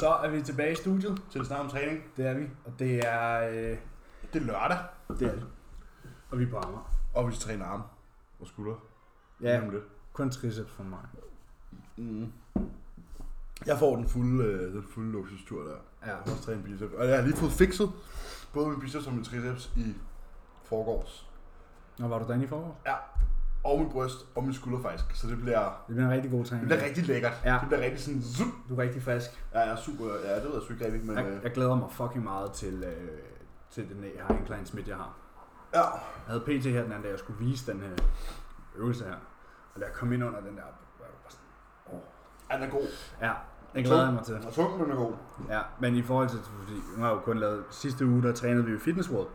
Så er vi tilbage i studiet. til at snakke om træning. Det er vi. Og det er... Øh, Det er lørdag, det er det. Og vi er på Amager. og vi skal træne arme og skuldre. Ja, Lige om lidt. kun triceps for mig. Mm. Jeg får den fulde, øh, den fulde luksustur der. Ja. Jeg har også trænet biceps. Og jeg har lige fået fikset både min biceps og min triceps i forgårs. Nå, var du derinde i forår? Ja. Og min bryst og min skulder faktisk. Så det bliver, Det bliver en rigtig god det træning. bliver rigtig lækkert. Mm. Ja. Det bliver rigtig sådan zup. Du er rigtig frisk. Ja, jeg er super. Ja, det ved jeg sgu ikke rigtigt, men... Jeg, Øh, jeg glæder mig fucking meget til, øh, til den her incline smid, jeg har. ja. Jeg havde PT her den anden dag, jeg skulle vise den her øvelse her. Og da jeg kom ind under den der... var jeg bare sådan, ja, den er god. Ja, det glæder jeg mig til. Den er tung, men den er god. Ja, men i forhold til, fordi nu har jeg jo kun lavet, sidste uge der trænede vi jo i Fitness World.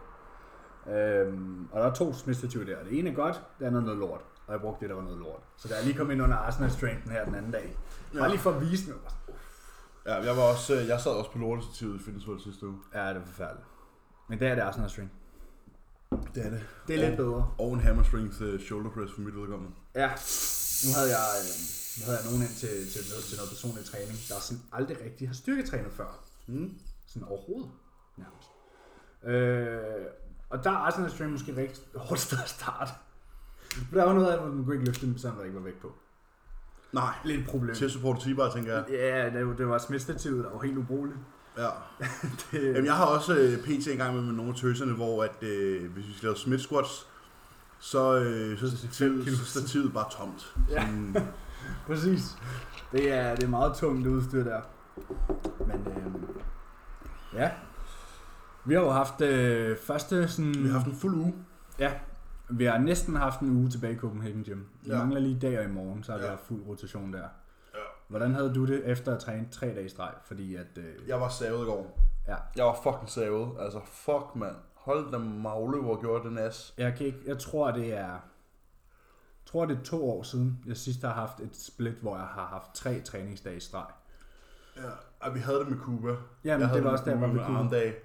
Øhm, og der er to smidsstativer der. Det ene er godt, det andet er noget lort. Og jeg brugte det, der var noget lort. Så da jeg lige kom ind under Arsenal Strengthen her den anden dag, bare lige for at vise mig. bare sådan, Ja, jeg, var også, øh, jeg sad også på lortestativet i Fitness World sidste uge. Ja, det er forfærdeligt. Men der er det Arsenal Strength. Det er det. Det er lidt bedre. Og en hamstrings øh, shoulder press for mit vedkommende. Ja, nu havde jeg, øh, nu havde jeg nogen ind til, til, noget, til noget personlig træning, der sådan aldrig rigtig har styrketrænet før. Mm. Sådan overhovedet, nærmest. Øh, og der er Arsenal Stream måske et rigtig hårdt sted at starte. For der var noget af, hvor man kunne ikke løfte den, selvom der ikke var vægt på. Nej. Lidt et problem. Til support og T-bar, tænker jeg. Ja, det, var- det var smittestativet, der var helt ubrugeligt. Ja. Det, Jamen, jeg har også øh, PT en gang med, med nogle af tøserne, hvor at, øh, hvis vi skal lave smith squats, så, øh, så, er stativet, kilo. så er stativet bare tomt. Altså, Ja. Sådan, præcis. Det er, det er meget tungt udstyr der. Men øh, ja, vi har jo haft øh, første sådan... vi har haft en fuld uge. Ja, vi har næsten haft en uge tilbage i Copenhagen Gym. Vi Ja. mangler lige i dag og i morgen, så har vi Ja. haft fuld rotation der. Ja. Hvordan havde du det efter at træne tre dage i streg? Fordi at... Øh, Jeg var savet i går. Ja. Jeg var fucking savet. Altså, fuck, mand. Hold da magle, hvor gjorde den as. jeg, kan ikke, jeg tror, det er... Jeg tror, det er to år siden, jeg sidst har haft et split, hvor jeg har haft tre træningsdage i streg. Ja. Og vi havde det med Cuba. Jamen, jeg det havde var også der, med hvor vi Cuba med kunne... armdag.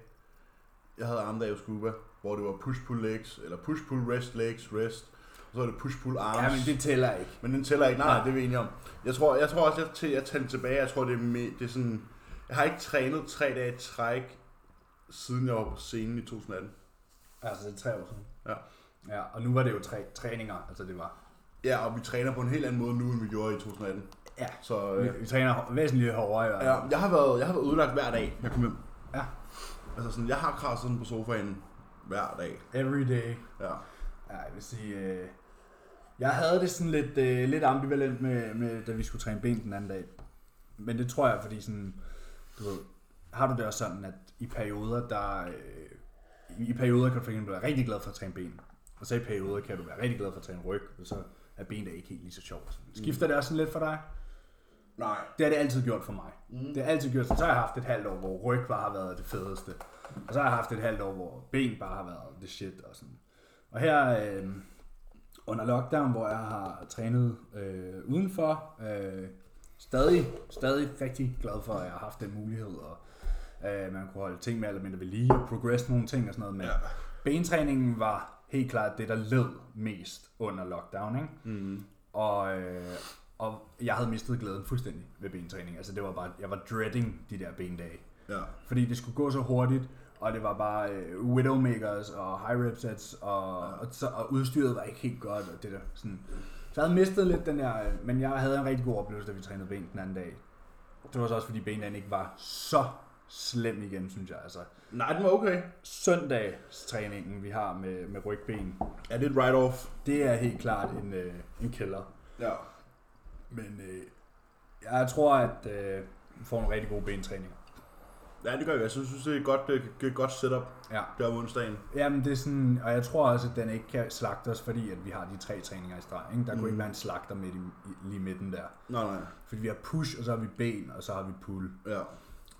Jeg havde armdag hos Cuba, hvor det var push-pull legs, eller push-pull rest legs, rest. Og så var det push-pull arms. Ja, men det tæller ikke. Men den tæller ikke. Nej, Nej. Nej. det er vi enige om. Jeg tror, jeg tror også, jeg, til, jeg talte tilbage. Jeg tror, det er, me, det er sådan... Jeg har ikke trænet tre dage i træk, siden jeg var på scenen i 2018. Altså, det er tre år siden. Ja. Ja, og nu var det jo tre træninger, altså det var... Ja, og vi træner på en helt anden måde nu, end vi gjorde i 2018. Ja, Så øh, vi, vi træner væsentligt hårdere i hvert fald. ja, jeg, har været, jeg har været udlagt hver dag, jeg kom hjem. Ja. Altså sådan, jeg har krasset den på sofaen hver dag. Every day. Ja. Ja, jeg vil sige, øh, jeg havde det sådan lidt, øh, lidt ambivalent med, med, da vi skulle træne ben den anden dag. Men det tror jeg, fordi sådan, du ved, har du det også sådan, at i perioder, der, øh, i perioder kan du for eksempel være rigtig glad for at træne ben, og så i perioder kan du være rigtig glad for at træne ryg, og så er ben da ikke helt lige så sjovt. Skifter det også sådan lidt for dig? Nej. Det har det altid gjort for mig. Mm. Det har altid gjort, så har jeg haft et halvt år, hvor ryg bare har været det fedeste. Og så har jeg haft et halvt år, hvor ben bare har været det shit og sådan. Og her øh, under lockdown, hvor jeg har trænet øh, udenfor, øh, stadig, stadig rigtig glad for, at jeg har haft den mulighed, og øh, man kunne holde ting mere eller mindre ved lige, og progress nogle ting og sådan noget. Men ja. Ja. bentræningen var helt klart det, der led mest under lockdown, ikke? Mm. Og, øh, og jeg havde mistet glæden fuldstændig ved bentræning. Altså det var bare, jeg var dreading de der bendage. Ja. Fordi det skulle gå så hurtigt, og det var bare øh, widowmakers og high rep sets, og, og, så, og udstyret var ikke helt godt, og det der sådan. Så jeg havde mistet lidt den der, øh, men jeg havde en rigtig god oplevelse, da vi trænede ben den anden dag. Det var så også, fordi bendagen ikke var så slem igen, synes jeg. Altså, Nej, den var okay. søndagstræningen, vi har med, med rygben, Ja, det er et write-off. det er helt klart en, øh, en kælder. Ja. Men øh, jeg tror, at øh, vi får en rigtig god bentræning. Ja, det gør jeg. Jeg synes, det er et godt, det er et godt setup Ja. der om onsdagen. Jamen, det er sådan, og jeg tror også, at den ikke kan slagte os, fordi at vi har de tre træninger i streg. Ikke? Der kunne Mm. ikke være en slagter midt i, i, lige midten der. Nej, nej. Fordi vi har push, og så har vi ben, og så har vi pull. Ja.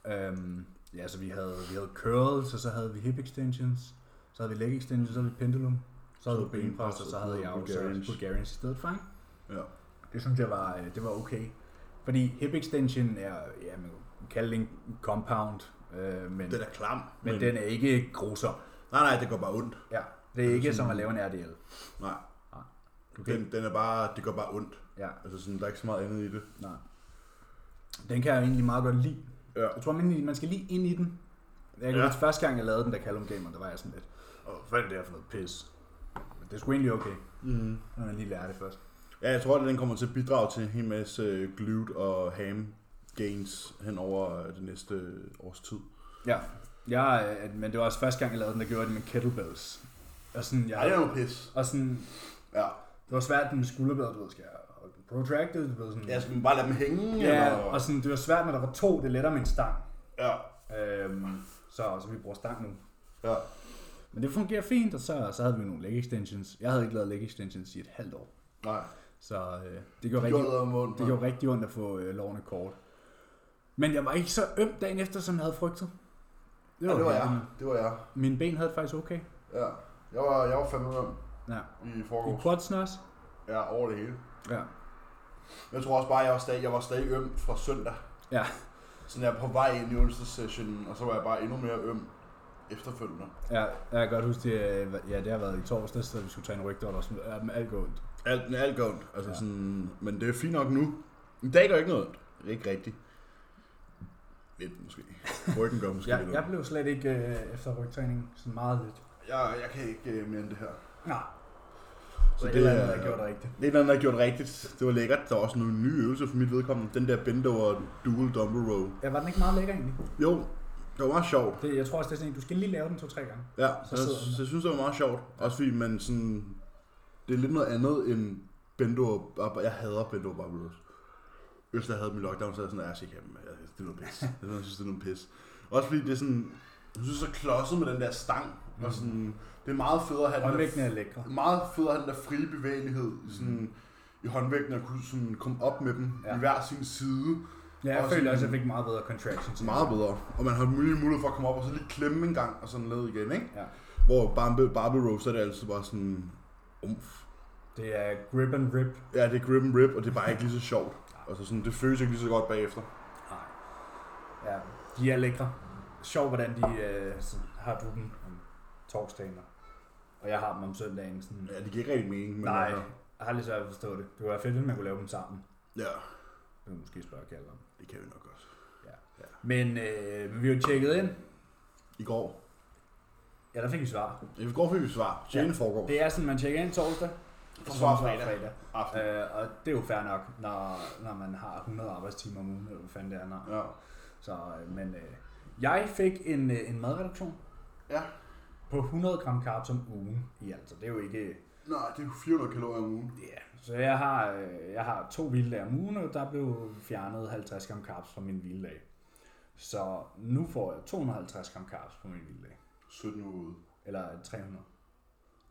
Øhm, ja, så vi havde, vi havde curls, og så havde vi hip extensions, så havde vi leg extensions, så havde vi pendulum, så havde Så vi benpres, og så havde jeg også Bulgarians. Bulgarians i stedet for. Ikke? Ja. Det synes jeg var, øh, det var okay. Fordi hip extension er, ja, man kan kalde det en compound, øh, men, Den er klam. men, men, den er ikke grusom. Nej, nej, det går bare ondt. Ja, det er ikke som at lave en RDL. Nej. Nej. Okay. Den, den er bare, det går bare ondt. Ja, Altså sådan, der er ikke så meget andet i det. nej. Den kan jeg egentlig meget godt lide. Ja. Jeg tror, man, man skal lige ind i den. Jeg kan Ja. ja. første gang, jeg lavede den der Callum Gamer, der var jeg sådan lidt, åh, hvad er det her for noget pis? Men det er sgu egentlig okay, Mm. når man lige lærer det først. Ja, jeg tror, at den kommer til at bidrage til en hel masse øh, glute og ham gains hen over øh, det næste års tid. Ja, jeg, øh, men det var også første gang, jeg lavede den, der gjorde det med kettlebells. Og sådan, jeg, pis. og sådan, Ja. det var svært med skulderbladet, du ved, skal jeg holde den protracted, du ved, sådan, Ja, skal man bare lade dem hænge? ja, eller? og sådan, det var svært, når der var to, det er lettere med en stang. ja. Øhm, så, så vi bruger stang nu. ja. Men det fungerer fint, og så, så havde vi nogle leg extensions. Jeg havde ikke lavet leg extensions i et halvt år. Nej. Så øh, det gjorde rigtig noget om ondt, Det gjorde rigtig ondt at få øh, lårene kort. Men jeg var ikke så øm dagen efter, som jeg havde frygtet. heldigt. Det var jeg. Mine ben havde det faktisk okay. Ja. Jeg var, jeg var fandme om Ja. i I quadsen også? Ja, over det hele. Ja. Men jeg tror også bare, at jeg var stadig, jeg var stadig øm fra søndag. Ja. Så jeg er på vej ind i øvelsessessionen, og så var jeg bare endnu mere øm efterfølgende. ja. Jeg kan godt huske, det, øh, ja, det har været i torsdags, da vi skulle tage en rygdot og sådan ja, men alt går ondt. Alt, alt går ondt. Altså Ja. ja. sådan, men det er fint nok nu. I dag gør ikke noget ondt. Ikke rigtigt. Lidt måske. Ryggen gør måske Jeg, lidt jeg ondt. blev slet ikke øh, efter rygtræningen sådan meget lidt. Jeg, jeg kan ikke øh, mere end det her. Nej, Så så det, det det er jeg er gjort rigtigt. det er noget, der er gjort rigtigt. Det var lækkert. Der var også nogle nye øvelser for mit vedkommende. Den der bend over dual dumbbell row. Ja, var den ikke meget lækker egentlig? Jo, det var meget sjovt. Det, jeg tror også, det er sådan en, du skal lige lave den to-tre gange. Ja, Så så, sidder den så, så jeg synes, det var meget sjovt. Også fordi man sådan... Det er lidt noget andet end Bendo... og- Jeg hader Bendo Barbaros. Hvis jeg havde min lockdown, så er jeg sådan, at jeg skal ikke have dem. Jeg- Det er noget pis. Jeg synes, det er noget pis. Også fordi det er sådan... Jeg synes, det er så klodset med den der stang. Og sådan, det er meget federe at have den der Håndvægtene Mm. er lækre. meget fed at have den der frie bevægelighed sådan, i håndvægten at kunne sådan, komme op med dem Ja. ja. i hver sin side. Ja, jeg Og følte sådan- også, at jeg fik meget bedre contractions. Så meget bedre. Og man har mulighed, mulighed for at komme op og så lige klemme en gang og sådan ned igen, ikke? Ja. Hvor Barbie, Barbie Rose, så er det altid bare sådan... Umf. Det er grip and rip. Ja, det er grip and rip, og det er bare ikke lige så sjovt. Og så sådan, det føles ikke lige så godt bagefter. Nej. Ja, de er lækre. Sjovt, hvordan de øh, sådan, har du dem om torsdagen, og- og jeg har dem om søndagen. Sådan. Ja, det giver ikke rigtig mening. Men Nej, altså, jeg har lidt svært ved at forstå det. Det kunne være fedt, hvis man kunne lave dem sammen. Ja, Det kunne måske spørge Kalle om. det kan vi nok også. Men, øh, men vi har jo tjekket ind. I går. Ja, der fik vi svar. Ja, vi går for, vi svar. Jane ja. foregår. Det er sådan, man tjekker ind torsdag, og så svarer fredag. fredag. Aften. Øh, og det er jo fair nok, når, når man har 100 arbejdstimer om ugen, eller hvad fanden det er. Når. Ja. Så, øh, men øh, jeg fik en, øh, en madreduktion ja. på 100 gram carbs om ugen i alt. Så det er jo ikke, Nå, det er jo 400 kalorier om ugen. Ja, så jeg har, øh, jeg har to hviledage om ugen, og der blev fjernet 50 gram carbs fra min hviledag. Så nu får jeg 250 gram carbs på min hviledag. 17 uger ude. Eller øh, 300.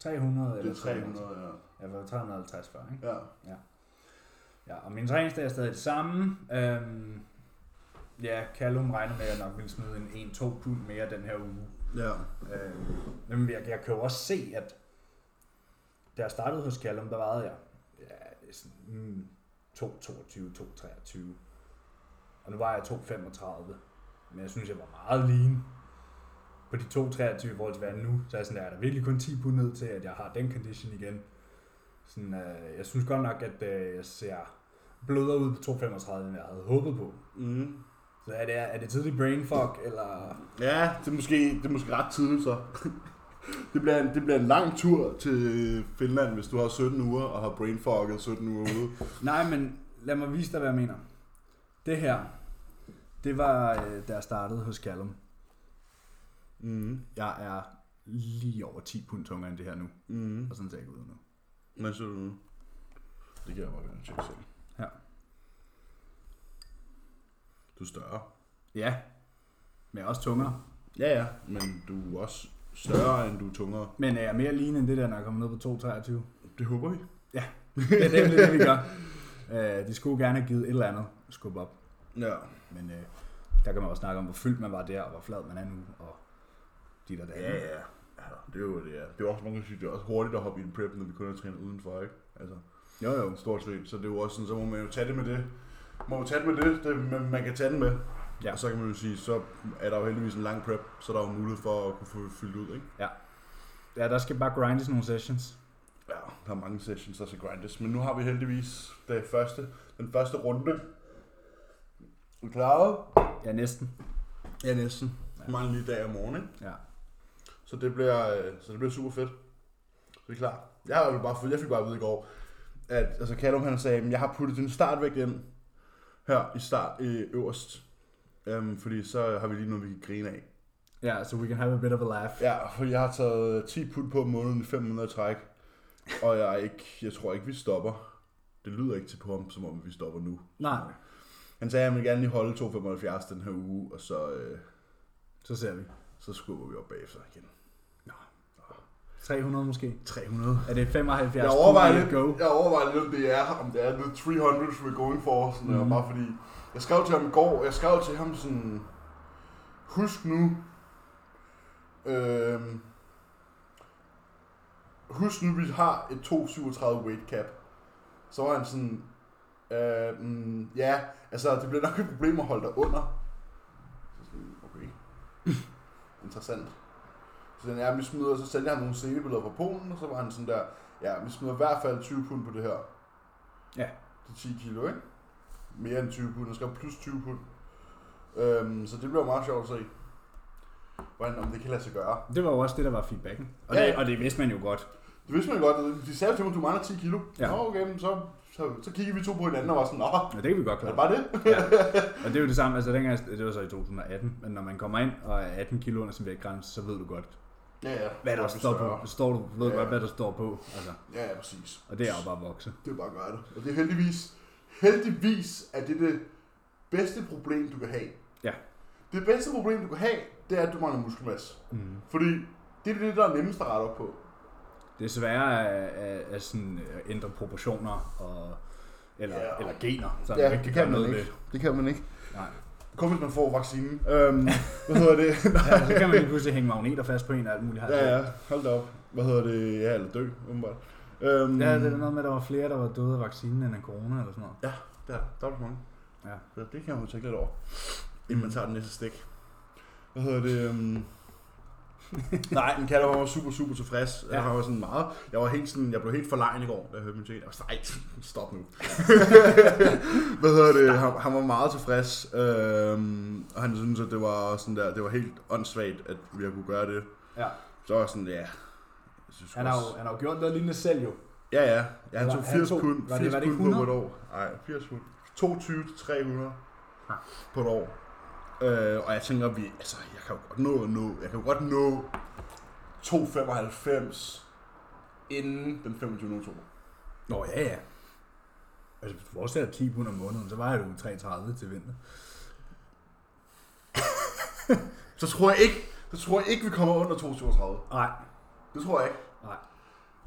300 Det eller er 300, ja. Jeg var 350 før, ikke? Ja. Ja, og min træningsdag er stadig det samme. Øhm, ja, Callum regner med, at jeg nok vil smide en 1-2 pund mere den her uge. Ja. Øhm, men jeg, jeg kan jo også se, at da jeg startede hos Callum, der vejede jeg ja, sådan, mm, 2,22, 2,23. Og nu var jeg 2,35. Men jeg synes, jeg var meget lean på de 2,23 i forhold til, hvad jeg er nu. Så er jeg sådan, der er der virkelig kun 10 pund ned til, at jeg har den condition igen. Sådan, øh, jeg synes godt nok, at øh, jeg ser blødere ud på 2,35, end jeg havde håbet på. Mm. Så er det, er det tidlig brain fuck, eller... Ja, det er måske, det er måske ret tidligt så. det, bliver en, det bliver en lang tur til Finland, hvis du har 17 uger og har brainfogget 17 uger ude. Nej, men lad mig vise dig, hvad jeg mener. Det her, det var, øh, da jeg startede hos Callum. Mm. Jeg er lige over 10 pund tungere end det her nu. Mm. Og sådan ser jeg ikke ud nu. Hvad siger du nu? Det kan jeg godt tjekke selv. Ja. Du er større. Ja, men jeg er også tungere. Ja, ja, men du er også større, end du er tungere. Men er jeg mere lean end det der, når jeg kommer ned på 2,23? Det håber vi. Det er nemlig det, vi gør. Øh, de skulle gerne have givet et eller andet skub op. Ja. Men øh, der kan man også snakke om, hvor fyldt man var der, og hvor flad man er nu, og de der dage. Ja, ja. Altså, det er jo det, ja. Det er også, man kan sige, det er også hurtigt at hoppe i en prep, når vi kun har trænet udenfor, ikke? Altså, Jo, jo. stort set. Så det er jo også sådan, så må man jo tage det med det. Man må tage det med det, det man, man kan tage den med. Ja. Ja. Og så kan man jo sige, så er der jo heldigvis en lang prep, så der er jo mulighed for at kunne få det fyldt ud, ikke? Ja, der skal bare grindes nogle sessions. Ja, der er mange sessions, der skal grindes. Men nu har vi heldigvis det første, den første runde. Er du klar? Ja, næsten. Ja, næsten. Ja. Mange lige dag om morgenen, ikke? Ja. Så det bliver, øh, så det bliver super fedt. Så det er klar. Jeg, har jo bare fået, jeg fik bare at vide i går, at altså Callum han sagde, at jeg har puttet din startvægt ind her i start i øverst. Øhm, fordi så har vi lige noget, vi kan grine af. Ja, so we can have a bit of a laugh. Ja, for jeg har taget 10 put på om måneden i 500 træk. Og jeg, er ikke, jeg tror ikke, vi stopper. Det lyder ikke til på ham, som om vi stopper nu. Nej, Han sagde, at han ville gerne lige holde 275 den her uge, og så, øh, så ser vi. så skubber vi op bagefter igen. 300 måske. 300. Er det 75? Jeg overvejer, Kunne vi lidt, Go. jeg overvejer lidt, om det er, om det er the 300, we're going for. Sådan mm. Mhm. bare fordi, jeg skrev til ham i går, jeg skrev til ham sådan, husk nu, øhm, husk nu, vi har et 237 weight cap. Så var han sådan, øh, mm, ja, altså det bliver nok et problem at holde dig under. Så sådan, okay. Interessant. Så den ja, vi smider, så sendte jeg ham nogle scenebilleder fra Polen, og så var han sådan der, ja, vi smider i hvert fald 20 pund på det her. Ja. Det er 10 kilo, ikke? Mere end 20 pund, jeg skal have plus 20 pund. Øhm, så det bliver meget sjovt at se, hvordan, om det kan lade sig gøre. Det var jo også det, der var feedbacken. Og, Ja, ja. ja. det, og det vidste man jo godt. Det vidste man jo godt, de sagde til mig, du mangler 10 kilo. Ja. Nå, okay, men så, så, så kiggede vi to på hinanden og var sådan, nå, Ja, det kan vi godt er klare. det bare det? Og det er jo det samme, altså dengang, det var så i 2018, men når man kommer ind og er 18 kilo under sin vægtgrænse, så ved du godt, Ja, ja. hvad der Vi står større. på. Står du, ved du Ja. godt, hvad der står på. Altså, Ja, ja, præcis. og det er jo bare at vokse. Det er bare at gøre det. Og det er heldigvis, heldigvis er det det bedste problem, du kan have. Ja. Det bedste problem, du kan have, det er, at du mangler muskelmasse. Mm. Fordi det er det, der er nemmest at rette op på. Desværre er, er, er sådan, at ændre proportioner og, eller, Ja. ja. eller gener, så man ikke kan gøre noget ved. Det kan man ikke. Nej. Kun hvis man får vaccinen. Øhm, hvad hedder det? Ja, så kan man lige pludselig hænge magneter fast på en og alt muligt. ja, ja, hold da op. Hvad hedder det? Ja, eller dø, åbenbart. Øhm, Ja, det er noget med, at der var flere, der var døde af vaccinen end af corona eller sådan noget. Der, der er det mange. Ja. Så det kan man jo tænke lidt over, inden man tager den næste stik. Hvad hedder det? Um... Nej, men Kalle var super, super tilfreds. Ja. Jeg var sådan meget. Jeg var helt sådan, jeg blev helt forlegen i går, da jeg hørte min tale. Jeg var sådan, "Ej, stop nu. Hvad hedder det? Han, han var meget tilfreds. Øhm, og han synes, at det var sådan der, det var helt åndssvagt, at vi har kunne gøre det. Ja. Så var jeg sådan, ja. Jeg synes Han har, også- jo, han har jo gjort noget lignende selv jo. Ja, ja. ja han Eller tog han 80 tog- pund, var det- 80 var det pund ikke på 100? et år. Nej, 80 pund. 22 til 300 Ah. på et år. Øh, og jeg tænker, vi, altså, jeg kan jo godt nå, nå jeg kan jo godt nå 2,95 inden den 25. oktober. Nå ja, ja. Altså, hvis du fortsætter 10 pund om måneden, så vejer du 33 til vinter. Så tror jeg ikke, så tror jeg ikke, vi kommer under 2,37. Nej, Det tror jeg ikke. nej.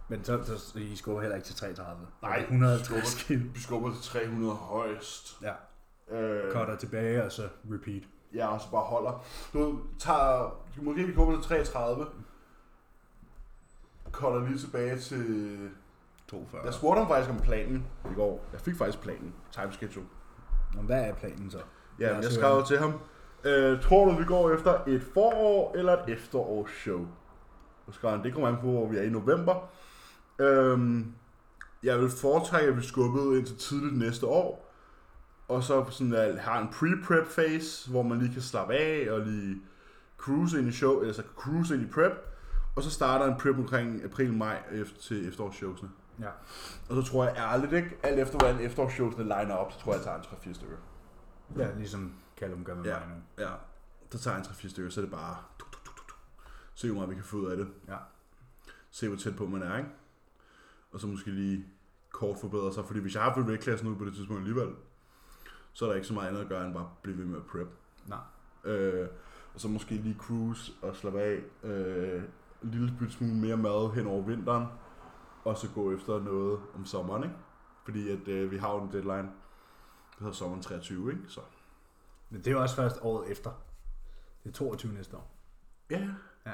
Men så, så, så I skubber heller ikke til 33. Nej, 150 kilo. Vi skubber til 300 højst. Ja, Øh, cutter tilbage og så repeat. Ja, og så bare holder. Du ved, tager, måske vi kommer til 33. Kolder lige tilbage til 42. Jeg spurgte ham faktisk om planen i går. Jeg fik faktisk planen. Time schedule. Nå, hvad er planen så? Ja, Ja, men så jeg hører skrev jeg. til ham. Øh, tror du, vi går efter et forår eller et efterårsshow? Så skrev han, det kommer an på, hvor vi er i november. Øhm, jeg vil foretrække, at vi skubbede ind til tidligt næste år. Og så sådan, at har en pre-prep phase, hvor man lige kan slappe af og lige cruise ind i show, altså cruise ind i prep. Og så starter en prep omkring april-maj efter, til efterårsshowsene. Ja. Og så tror jeg ærligt ikke, alt efter hvordan efterårsshowsene liner op, så tror jeg, jeg tager en 3-4 stykker. Ja, ligesom Callum gør med Ja. mig nu. Ja, så tager jeg en 3-4 stykker, så er det bare... Du, du, du, du, du. Se, hvor meget vi kan få ud af det. Ja. Se, hvor tæt på man er, ikke? Og så måske lige kort forbedre sig, fordi hvis jeg har fået vægtklassen ud på det tidspunkt alligevel, så er der ikke så meget andet at gøre, end bare blive ved med at prep. Nej. Øh, og så måske lige cruise og slappe af. Øh, en lille bitte smule mere mad hen over vinteren. Og så gå efter noget om sommeren, ikke? Fordi at, øh, vi har jo en deadline. Det hedder sommeren 23, ikke? Så. Men det er jo også først året efter. Det er 22 næste år. Ja. Ja.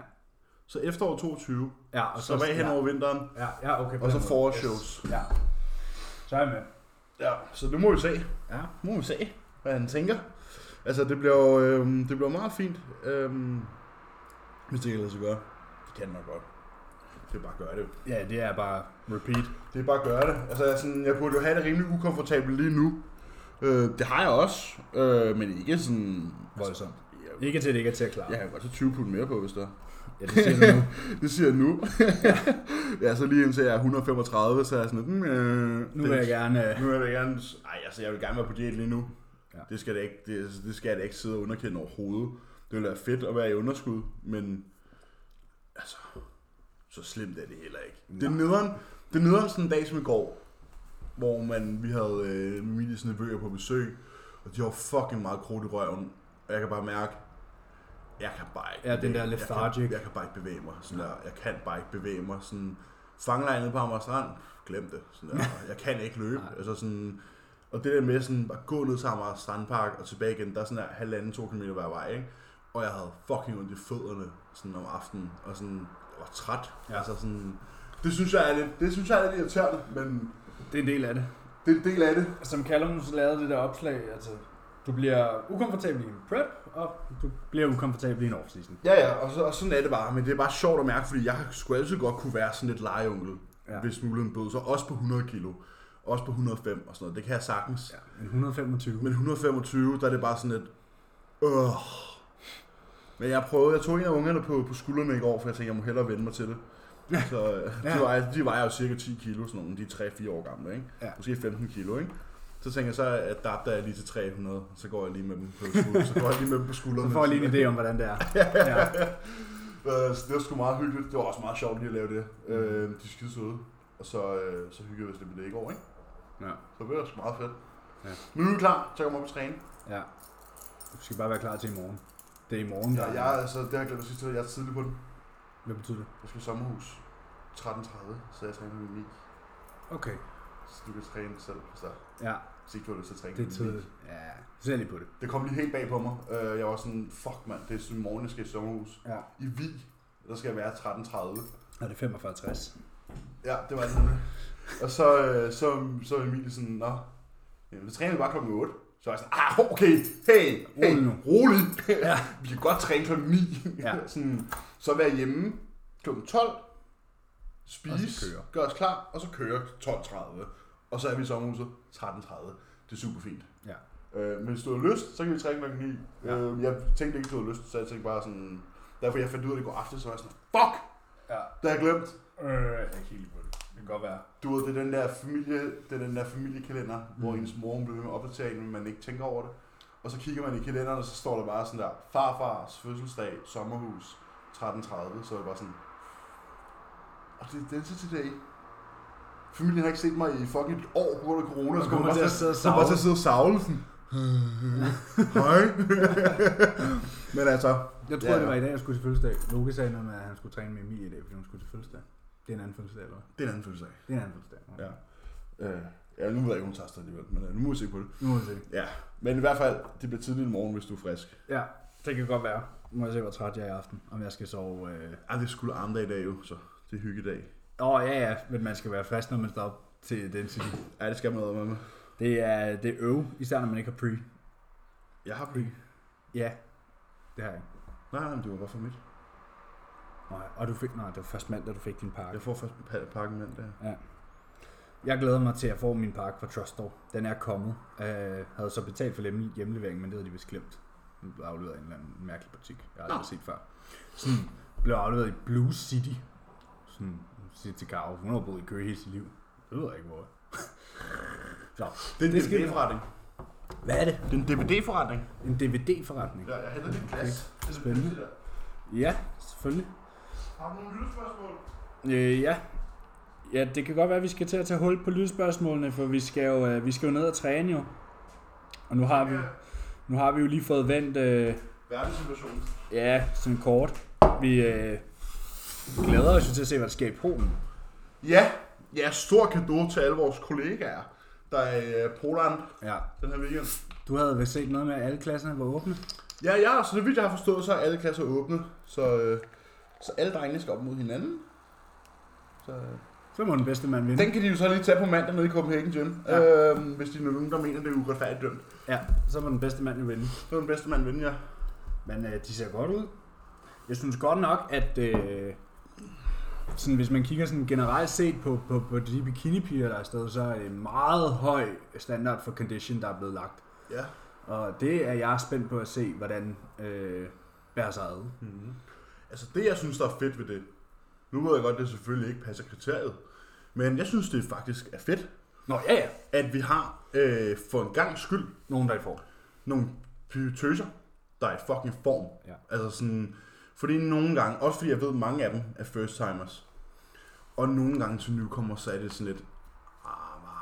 Så efterår 22. Ja, Og så af hen ja, over vinteren. ja, ja, okay. på den Og så måde. forårsshows. Yes. Ja. Så er jeg med. Ja, så det må vi se. Ja. Må vi se, hvad han tænker. Altså, det bliver jo øh, det bliver meget fint. Øh, hvis det kan lade sig gøre. Det kan nok godt. Det er bare at gøre det. Ja, det er bare repeat. Det er bare at gøre det. Altså, jeg, er sådan, jeg burde jo have det rimelig ukomfortabelt lige nu. Øh, det har jeg også, øh, men ikke sådan... Altså, Voldsomt. Jeg, Ikke til det ikke er til at klare. jeg kan godt tage 20 pund mere på, hvis der. ja det siger du nu. Det siger jeg nu. ja, så lige indtil jeg er 135, så er jeg sådan lidt... Mm, øh, Nu vil jeg gerne... øh, Nu vil jeg gerne... Ej, altså, jeg vil gerne være på diæt lige nu. Ja. Ja. Det, skal det, ikke, det, altså, det skal jeg da ikke sidde og underkende overhovedet. Det ville være fedt at være i underskud, men... Altså... Så slemt er det heller ikke. Det er nederen, det er nederen sådan en dag som i går, hvor man, vi havde øh, Emilies nevøer på besøg, og de har fucking meget krudt i røven, og jeg kan bare mærke, jeg kan bare ikke Ja, den bevæge- der Jeg kan, lethargic. jeg kan bare ikke bevæge mig. Sådan der, jeg kan bare ikke bevæge mig. Sådan, fangelejnet på Amager Strand, glem det. Sådan der, jeg kan ikke løbe. altså sådan, og det der med sådan, at gå ned til Amager Strandpark og tilbage igen, der er sådan der halvanden, to kilometer hver vej, ikke? Og jeg havde fucking ondt i fødderne sådan om aftenen, og sådan, jeg var træt. Ja. Ja. Altså sådan, det synes jeg er lidt, det synes jeg er lidt irriterende, men Det er en del af det. det er en del af det. Som Callum lavede det der opslag, altså... Du bliver ukomfortabel i en prep, og du bliver ukomfortabel i en offseason. Ja, ja, og, så, og sådan er det bare, men det er bare sjovt at mærke, fordi jeg skulle altid godt kunne være sådan lidt legeonkel, Ja. ja. hvis muligheden bød, så også på 100 kilo, også på 105 og sådan noget, det kan jeg sagtens. Ja. Men 125. Men 125, der er det bare sådan lidt, øh. Men jeg prøvede, jeg tog en af ungerne på, på skuldrene i går, for jeg tænkte, jeg må hellere vende mig til det. Så øh, Ja. de, vejer, de vejer jo cirka 10 kilo, sådan nogle, de er 3-4 år gamle, ikke? Ja. Måske 15 kilo, ikke? Så tænker jeg så, at adapter jeg lige til 300, så går jeg lige med dem på skuldrene. så går jeg lige med dem på skuldrene. Så får jeg lige en idé om, hvordan det er. Ja. Øh, så det var sgu meget hyggeligt. Det var også meget sjovt lige at lave det. Mm. Øh, de er skide søde. Og så, øh, så hyggede vi os lidt med det i går, ikke? ja. Så det var sgu meget fedt. Ja. Ja. Men nu er vi klar, så kommer jeg op og træne. Ja. Du skal bare være klar til i morgen. Det er i morgen, der Ja, jeg, altså, det har jeg glemt at sige til dig. Jeg er tidlig på den. Hvad betyder det? Jeg skal i sommerhus. 13.30, så jeg træner med min Okay. Så du kan træne selv på start. Ja, Hvis ikke du har lyst til at træne det er med min tidligt. Ja, så ser jeg lige på det. Det kom lige helt bag på mig. Øh, jeg var sådan, fuck mand, det er sådan i morgen, jeg skal i sommerhus. Ja. I Vig, der skal jeg være 13.30. Og det er 4560. Ja, det var det nemlig. Og så, øh, så, så var Emilie sådan, nå, jamen, så træner vi bare klokken 8. Så var jeg sådan, ah, okay, hey, hey Rolig nu." rolig. Ja. Ja. vi kan godt træne klokken 9. Ja. sådan, så være hjemme klokken 12, spise, køre. gør os klar, og så køre 12.30. Og så er vi i sommerhuset 13.30. Det er super fint. Ja. Øh, men hvis du har lyst, så kan vi træne klokken 9. Ja. Ja. Øh, jeg tænkte ikke, du havde lyst, så jeg tænkte bare sådan... Derfor jeg fandt ud af det i går aftes, så var jeg sådan, fuck, Ja. det har jeg glemt. Øh, jeg kan ikke lide på det. Det kan godt være. Du ved, det er den der, familie, det er den der familiekalender, mm. hvor Mm. ens mor hun bliver ved med at opdatere en, men man ikke tænker over det. Og så kigger man i kalenderen, og så står der bare sådan der, farfars fødselsdag, sommerhus, 13.30, så er det bare sådan, og det er Density Day. Familien har ikke set mig i fucking et år på grund af corona, Og så kommer kommer man til bare at sidde og så kommer man bare til at savle. sidde og savle sådan. Hej. men altså, Jeg tror, Ja, det ja. var i dag, jeg skulle til fødselsdag. Loke sagde noget med, at han skulle træne med Emilie i dag, fordi hun skulle til fødselsdag. Det er en anden fødselsdag, eller hvad? det er en anden fødselsdag. Det er en anden fødselsdag. Ja. Øh, ja, nu ved jeg ikke, om hun tager afsted alligevel, men øh, nu må vi se på det. Nu må vi se. Ja, men i hvert fald, det bliver tidligt i morgen, hvis du er frisk. Ja, det kan godt være. Nu må jeg se, hvor træt jeg er i aften. Om jeg skal sove... øh, Ej, det skulle arme dag i dag jo, så det er hyggedag. Åh, oh, ja, ja. Men man skal være fast, når man står op til den tid. Ja, det skal man med med. Det er, det er øve, især når man ikke har pre. Jeg har ikke. Ja, det har jeg ikke. Nej, nej, men det var bare for mit. Nej, og du fik, nej, det var først mandag, du fik din pakke. Jeg får først pa- pakken mandag. Jeg glæder mig til at få min pakke fra Trustor. Den er kommet. Øh, havde så betalt for lem- hjemlevering, men det havde de vist glemt. Den blev afleveret af en eller anden mærkelig butik, jeg har aldrig set før. Sådan, blev afleveret i Blue City. Sådan, siger til Karo, hun har boet i Køge hele sit liv. Det ved jeg ikke, hvor. så, Det er en Det skal- DVD-forretning. hvad er det? Det er en DVD-forretning. En DVD-forretning? Ja, jeg henter lidt glas. Det er Spændende. det der. Ja, selvfølgelig. Har du nogle lytspørgsmål? Øh, ja. Ja, det kan godt være, at vi skal til at tage hul på lydspørgsmålene, for vi skal jo, øh, vi skal jo ned og træne jo. Og nu har vi, nu har vi jo lige fået vendt, øh, Verdenssituationen. ja, sådan kort. Vi øh, glæder os jo til at se, hvad der sker i Polen. Ja, ja, stor kado til alle vores kollegaer, der er i øh, Poland Ja. den her weekend. Du havde vel set noget med, at alle klasserne var åbne? Ja, ja, så det vidt jeg har forstået, så er alle klasser åbne, så, øh, så alle drengene skal op mod hinanden. Så, øh. Så må den bedste mand vinde. Den kan de jo så lige tage på mandag nede i Copenhagen Gym, Ja. ja. øh, hvis de er nogen, der mener, det er uretfærdigt dømt. Ja, så må den bedste mand jo vinde. Det er den bedste mand vinde, ja. Men øh, de ser godt ud. Jeg synes godt nok, at øh, sådan, hvis man kigger sådan generelt set på, på, på de bikinipiger, der er afsted, så er det en meget høj standard for condition, der er blevet lagt. Ja. Og det er jeg spændt på at se, hvordan øh, bærer sig ad. Mm-hmm. Altså det, jeg synes, der er fedt ved det, nu ved jeg godt, det selvfølgelig ikke passer kriteriet, men jeg synes, det faktisk er fedt, Nå ja, ja. at vi har øh, for en gang skyld Nogen, der ikke får. nogle py- tøser, der er i fucking form. Ja. Altså sådan, fordi nogle gange, også fordi jeg ved, mange af dem er first timers, og nogle gange til nykommere, så er det sådan lidt, ah, hva?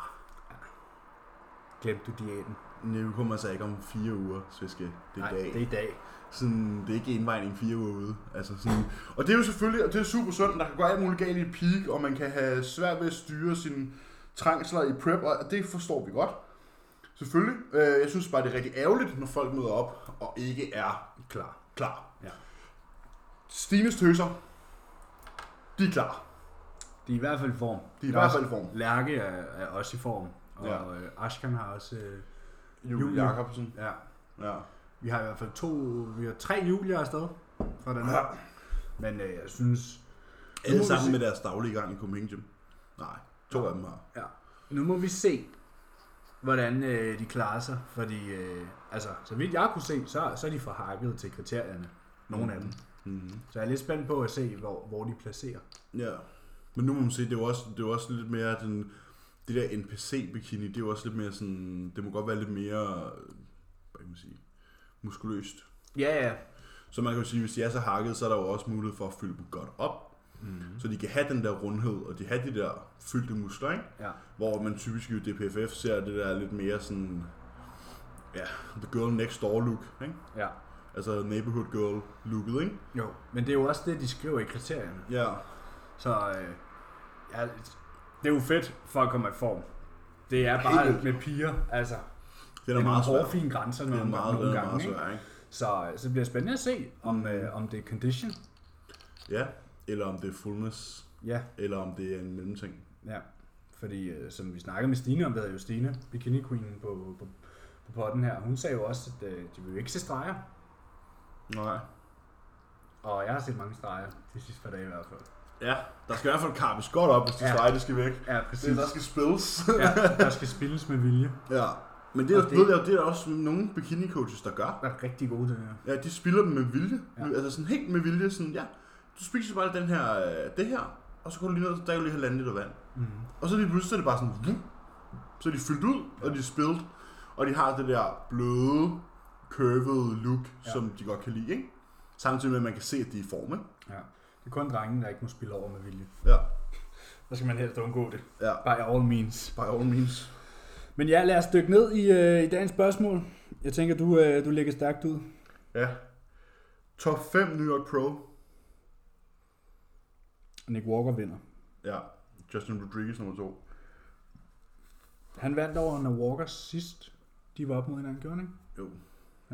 Glemte du diæten? nykommere så ikke om fire uger, sviske, det er Nej, i dag. det er i dag. Sådan, det er ikke envejning fire uger ude. Altså sådan. Og det er jo selvfølgelig, og det er super sundt, der kan gå alt muligt galt i et peak, og man kan have svært ved at styre sine trængsler i prep, og det forstår vi godt. Selvfølgelig. Øh, jeg synes bare, det er rigtig ærgerligt, når folk møder op og ikke er Klar. klar. Ja. Stines tøser, de er klar. De er i hvert fald i form. De er i hvert fald i form. Lærke er, er også i form. Og Ja. ja. øh, Ashkan har også... Øh, Julie Julie. Jacobsen. ja. Ja. Vi har i hvert fald to... Vi har tre julier afsted fra den her. Ja. Men øh, jeg synes... Nu må Alle vi se. sammen med deres daglige gang i Coming Gym. Nej, to af dem har. Ja. Nu må vi se, hvordan øh, de klarer sig, fordi øh, altså, så vidt jeg kunne se, så, så er de for hakket til kriterierne, nogle af dem. Mm-hmm. Så jeg er lidt spændt på at se, hvor, hvor de placerer. Ja. Men nu må man sige, det er jo også, det er jo også lidt mere den, det der NPC-bikini, det er jo også lidt mere sådan, det må godt være lidt mere, øh, hvad kan man sige, muskuløst. Ja, ja. Så man kan jo sige, hvis de er så hakket, så er der jo også mulighed for at fylde dem godt op, Mm. så de kan have den der rundhed, og de har de der fyldte muskler, ikke? ja. Hvor man typisk i DPFF ser det der lidt mere sådan, ja, the girl next door look, ikke? Ja. Altså neighborhood girl looket, ikke? Jo, men det er jo også det, de skriver i kriterierne. Ja, Så øh, ja, det er jo fedt for at komme i form. Det er bare vildt. med piger, altså. det Det er er da meget nogle svært. hårde, fine grænser Det nogle, er meget, nogle det er gange. meget ikke? svært, ikke? Så, så det bliver spændende at se, om, øh, om det er condition. Ja, eller om det er fullness, Ja, eller om det er en mellemting. Ja, fordi øh, som vi snakkede med Stine om, der hedder jo Stine, bikini queen på, på, på potten her, hun sagde jo også, at øh, de vil jo ikke se streger. Nej. Og jeg har set mange streger de sidste par dage i hvert fald. Ja, der skal i hvert fald karpes godt op, hvis de Ja. ja. streger, det skal væk. Ja, Det, præcis. der skal spilles. Ja, der skal spilles med vilje. ja. Men det Og er, det... det- Ved jeg, jo, det er der også nogle bikini coaches, der gør. Der er rigtig gode til det her. Ja, de spiller dem med vilje. Ja. Ja. Altså sådan helt med vilje. Sådan, ja, du spiser bare den her, øh, det her, og så går du lige ned, der er jo lige halvanden liter vand. Mm. Og så lige pludselig så er det bare sådan, vup. så er de fyldt ud, og de er spillet. Og de har det der bløde, curved look, Ja. ja. som de godt kan lide, ikke? Samtidig med, at man kan se, at de er i form, ikke? Ja. Det er kun drengene, der ikke må spille over med vilje. Ja, Der skal man helst undgå det. ja. By all means. By all means. Men ja, lad os dykke ned i, øh, i dagens spørgsmål. Jeg tænker, du, øh, du lægger stærkt ud. Ja. Top 5 New York Pro. Nick Walker vinder. Ja. Justin Rodriguez nummer 2. Han vandt over når Walker sidst. De var op mod hinanden, gjorde han ikke? Jo.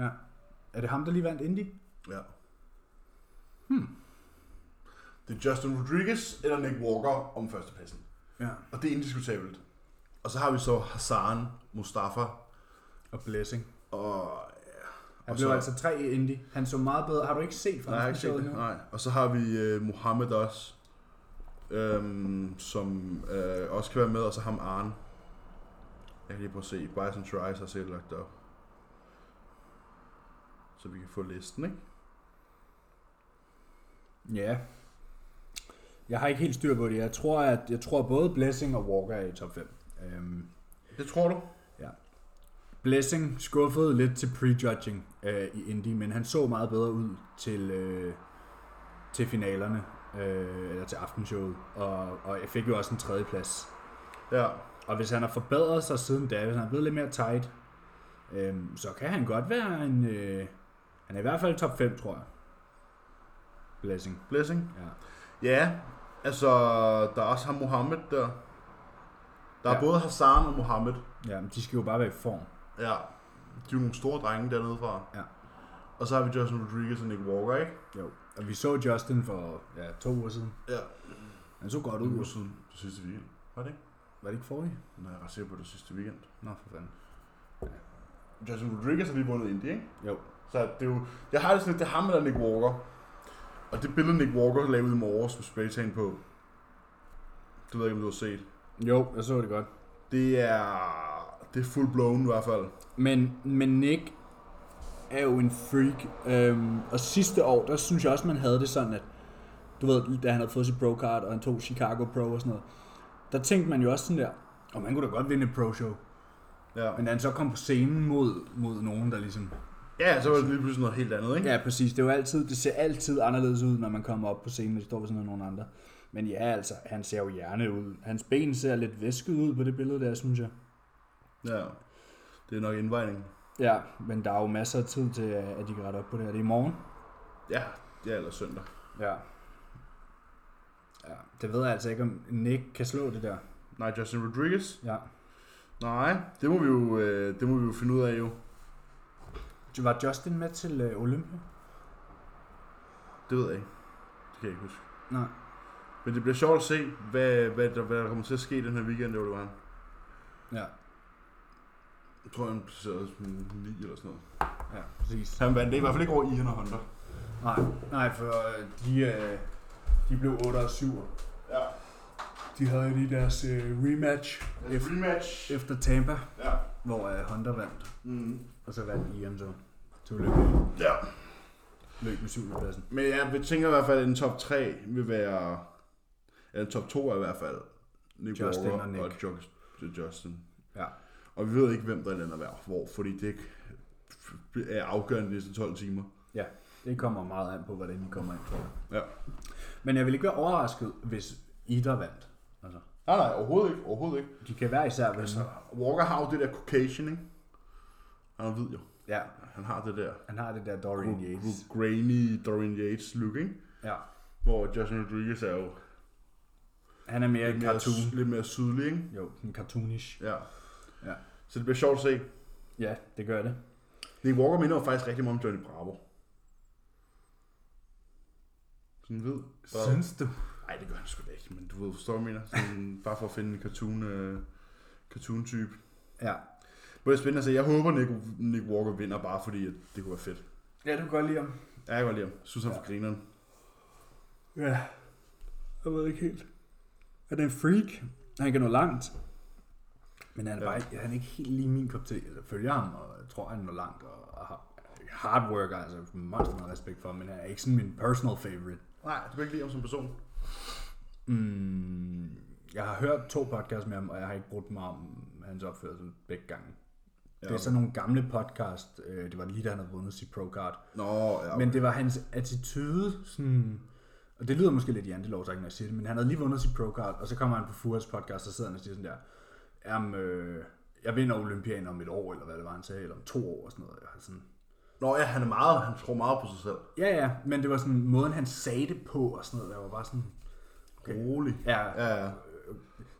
Ja. Er det ham, der lige vandt Indy? Ja. Hmm. Det er Justin Rodriguez eller Nick Walker om førstepladsen. Ja. Og det er indiskutabelt. Og så har vi så Hassan, Mustafa Og Blessing. og... Han Og blev så- altså tre i Indy. Han så meget bedre. Har du ikke set Nej, jeg har ikke set showet det. endnu? Nej. Og så har vi uh, Mohammed også, øhm, som øh, også kan være med, og så ham Arne. Jeg kan lige prøve at se. Bison Trice har selv lagt det op. Så vi kan få listen, ikke? Ja. Jeg har ikke helt styr på det. Jeg tror, at jeg tror både Blessing og Walker er i top 5. Øhm, Det tror du? Blessing skuffede lidt til prejudging øh, i Indy, men han så meget bedre ud til, øh, til finalerne, øh, eller til aftenshowet. Og, og jeg fik jo også en tredjeplads. Ja. Og hvis han har forbedret sig siden da, hvis han er blevet lidt mere tight, øhm, så kan han godt være en... Øh, han er i hvert fald top 5, tror jeg. Blessing. Blessing? Ja. Ja. Altså, der er også ham Mohammed der. Der er Ja. både Hassan og Mohammed. ja, men de skal jo bare være i form. Ja. De er jo nogle store drenge dernede fra. Ja. Og så har vi Justin Rodriguez og Nick Walker, ikke? Jo. Og vi så Justin for ja, to uger siden. Ja. Han så godt Det ud. var siden det sidste weekend. Var det ikke? Var det ikke forrige? Nej, jeg er ret sikker på det sidste weekend. Nå, for fanden. Justin Rodriguez har lige vundet Indy, ikke? Jo. Så det er jo, jeg har det sådan lidt, det er ham eller Nick Walker. Og det billede Nick Walker lavede i morges med spraytan på, Det ved jeg ikke, om du har set. Jo, jeg så det godt. Det er... Det er full blown i hvert fald. Men, men Nick er jo en freak. Øhm, og sidste år, der synes jeg også, man havde det sådan, at du ved, da han havde fået sit pro-card, og han tog Chicago Pro og sådan noget, der tænkte man jo også sådan der, og man kunne da godt vinde et pro-show. Ja, Men da han så kom på scenen mod, mod nogen, der ligesom... ja så var det lige pludselig noget helt andet, ikke? Ja, præcis. Det, er jo altid, det ser altid anderledes ud, når man kommer op på scenen, og står ved sådan nogle andre. Men ja, altså, han ser jo hjerne ud. Hans ben ser lidt væsket ud på det billede der, synes jeg. Ja. Det er nok indvejning. Ja, men der er jo masser af tid til, at de kan rette op på det her. Det er i morgen. Ja, det er ellers søndag. Ja. Ja, det ved jeg altså ikke, om Nick kan slå det der. Nej, Justin Rodriguez? Ja. Nej, det må vi jo, øh, det må vi jo finde ud af jo. Var Justin med til øh, Olympia? Det ved jeg ikke. Det kan jeg ikke huske. Nej. Men det bliver sjovt at se, hvad, hvad, der, hvad der kommer til at ske den her weekend, det var det var. Ja, Jeg tror, han placerede som 9 eller sådan noget. ja, præcis. Han vandt det i hvert fald ikke over Ian og Hunter. Nej, nej for øh, de, øh, de blev 8 og 7. Ja, De havde jo lige deres øh, rematch det er ef- rematch. efter Tampa, Ja. hvor øh, Hunter vandt. Mm. Og så vandt Ian så. Så løb, ja. løb med 7. pladsen. Men jeg tænker i hvert fald, at en top 3 vil være... Eller en top 2 er i hvert fald. Nick Justin Walker og Nick. Og Ju- Justin. Ja. Og vi ved ikke, hvem der lander hver hvor, fordi det er afgørende de næste 12 timer. Ja, det kommer meget an på, hvordan de kommer ind, tror jeg. Ja. Men jeg vil ikke være overrasket, hvis Ida vandt. Altså, Nej, nej, overhovedet ikke. Overhovedet ikke. Altså, de kan være især vinde. Walker har jo det der Caucasian, ikke? Han er hvid jo. Ja, Han har det der han har det der Dorian Yates. gr- grainy Dorian Yates look, ikke? Ja. Hvor Justin Rodriguez er jo Han er mere en lidt mere, cartoon. lidt mere sydlig, ikke? Jo, en cartoonish. Ja. Ja. Så det bliver sjovt at se. Ja, det gør det. Nick Walker minder jo faktisk rigtig meget om Johnny Bravo. Sådan ved. du? Nej, det gør han sgu da ikke, men du ved, forstår du, hvad jeg mener? Sådan, bare for at finde en cartoon, øh, cartoon-type. Ja. Men det er spændende at se. Jeg håber, Nick, Nick Walker vinder, bare fordi at det kunne være fedt. Ja, du kan godt lide ham. Ja, jeg kan godt lide ham. Jeg synes, han ja. for grineren. Ja. Jeg ved ikke helt. Han er en freak. Han kan nå langt. Men han er, Ja. ja. bare, ikke- han er ikke helt lige min kop te. Jeg følger ham, og jeg tror, han når langt. Og, og har- hard worker, altså meget meget respekt for ham, men han er ikke sådan min personal favorite. Nej, du kan ikke lide ham som person. Mm, jeg har hørt to podcasts med ham, og jeg har ikke brugt mig om hans opførsel begge gange. Ja. Det er sådan nogle gamle podcast. øh, Det var lige da han havde vundet sit pro-card. Nå, ja. Men det var hans attitude, sådan, og det lyder måske lidt i antilov, når jeg siger det, men han havde lige vundet sit pro-card, og så kommer han på Furas podcast, og sidder han og siger sådan der, jamen, øh, jeg vinder Olympiaden om et år, eller hvad det var, han sagde, eller om to år, og sådan noget. Jeg var sådan, Nå, ja, han er meget, han tror meget på sig selv. ja, ja, men det var sådan, måden han sagde det på, og sådan noget, der var bare sådan, Okay. Rolig. ja, ja. Ja, ja.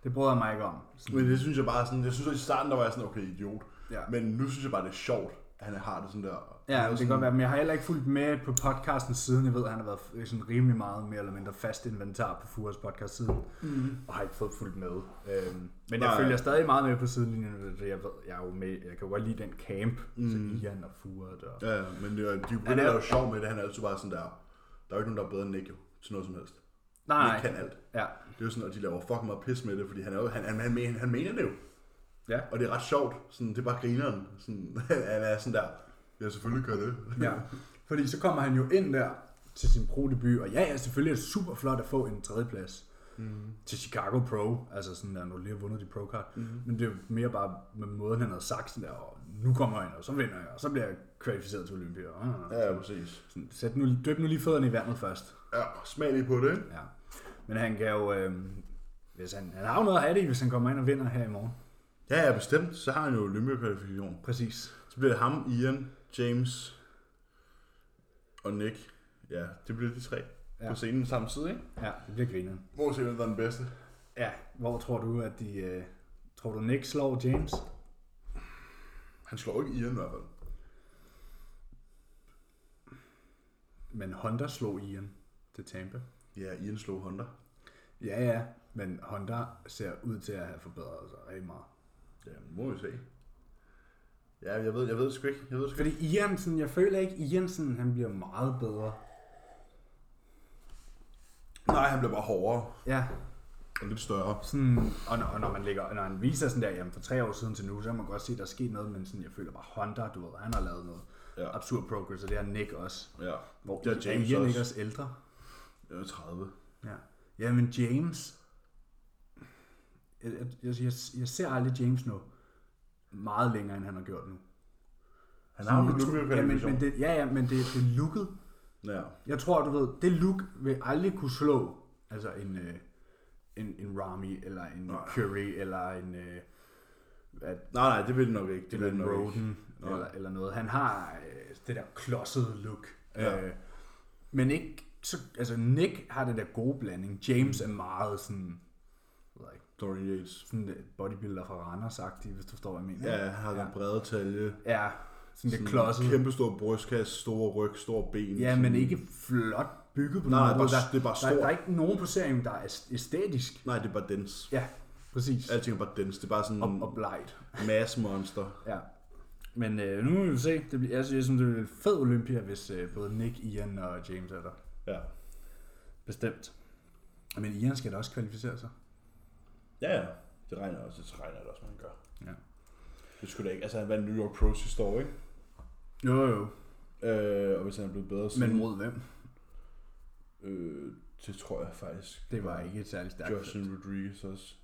det brød jeg mig ikke om. Sådan, Men det synes jeg bare sådan, jeg synes at i starten, der var jeg sådan, okay, idiot. Ja. Men nu synes jeg bare, det er sjovt, at han har det sådan der. ja, det kan godt være, men jeg har heller ikke fulgt med på podcasten siden, jeg ved, at han har været øh, sådan rimelig meget mere eller mindre fast inventar på Furas podcast siden. Mm. og har ikke fået fuldt med. Øhm, men jeg Nej. følger stadig meget med på sidelinjen, fordi jeg, ved, jeg er jo med, jeg kan jo godt lide den camp, mm. så Ian og Furet og... Mhm. Ja, ja, men det, er- de Han er er- jo sjov med det, han er altid bare sådan der, der er jo ikke nogen, der er bedre end Nick jo, til noget som helst. Nick Nej, kan alt. ja. Det er jo sådan, at de laver fucking meget pis med det, fordi han, er jo, han, han, han, mener, han mener det jo. Ja. Og det er ret sjovt. Sådan, det er bare grineren. Sådan, han er sådan der, ja, selvfølgelig gør det. ja. Fordi så kommer han jo ind der til sin pro-debut, og ja, ja, selvfølgelig er det super flot at få en tredjeplads mm. til Chicago Pro, altså sådan der, når du lige har vundet dit pro-card, mm. men det er jo mere bare med måden, han havde sagt sådan der, og nu kommer jeg ind, og så vinder jeg, og så bliver jeg kvalificeret til Olympia. Og, og, og. Ja, præcis. Sådan, sæt nu, døb nu lige fødderne i vandet først. Ja, smag lige på det. ikke? Ja. Men han kan jo... Øh, hvis han, han har jo noget at have det i, hvis han kommer ind og vinder her i morgen. Ja, ja, bestemt. Så har han jo Olympia-kvalifikation. Præcis. Så bliver det ham, Ian, James og Nick. Ja, det bliver de tre ja. Ja. på scenen samtidig, ikke? Ja, det bliver grineren. Hvor ser hvem der er den bedste? Ja, hvor tror du, at de... Øh, tror du, Nick slår James? Han slår ikke Ian i hvert fald. Men Honda slog Ian til Tampa. Ja, Ian slog Honda. Ja, ja. Men Honda ser ud til at have forbedret sig rigtig meget. Ja, må vi se. Ja, jeg ved, jeg ved sgu ikke. Jeg ved sgu ikke. Fordi Ian, sådan, jeg føler ikke, Ian sådan, han bliver meget bedre. Nej, han bliver bare hårdere. Ja. Og lidt større. Sådan, og når, og når, man ligger, når han viser sådan der, jamen for tre år siden til nu, så kan man godt se, at der er sket noget, men sådan, jeg føler bare Honda, du ved, han har lavet noget Ja. ja. absurd progress, og det har Nick også. Ja. Hvor Det er er James Ian også. ikke også ældre? Jeg er 30. Ja. Jamen James, jeg, jeg, jeg, jeg ser aldrig James nå meget længere, end han har gjort nu. Jeg Han tror- ja, men, men det, ja, ja, men det, det looket, Ja. jeg tror, du ved, det look vil aldrig kunne slå altså en, øh, en, en Rami, eller en Nej. Curry, eller en, øh, hvad, Nej, nej, det vil det nok ikke. Det eller vil det en nok ikke. Roden, eller, eller noget. Han har øh, det der klodsede look. Ja. Øh, men ikke, så, altså Nick har den der gode blanding. James er meget sådan, jeg ved ikke, Dorian Yates. sådan øh, bodybuilder fra Randers hvis du forstår, hvad jeg mener. Ja, han har den brede talje. ja sådan det klodsede. Kæmpe stor brystkasse, store ryg, store ben. Ja, sådan- men ikke flot bygget på Nej, nogen nej, måde. bare- der, det er bare der, stort. der, er ikke nogen posering, der er æst- æstetisk. Nej, det er bare dens. Ja, præcis. Alting er bare dens. Det er bare sådan Og, en og blegt. mass monster. Ja. Men øh, nu vil vi se. Det bliver, jeg synes, jeg synes, det bliver en fed Olympia, hvis øh, både Nick, Ian og James er der. Ja. Bestemt. Men Ian skal da også kvalificere sig. Ja, ja. Det regner også. Det regner det også, man gør. Ja. Det skulle da ikke. Altså, han vandt New York Pros sidste år, ikke? Jo, jo. Øh, og hvis han er blevet bedre siden... Men mod hvem? Øh, det tror jeg faktisk. Det var ikke et særligt stærkt. Justin Rodriguez også.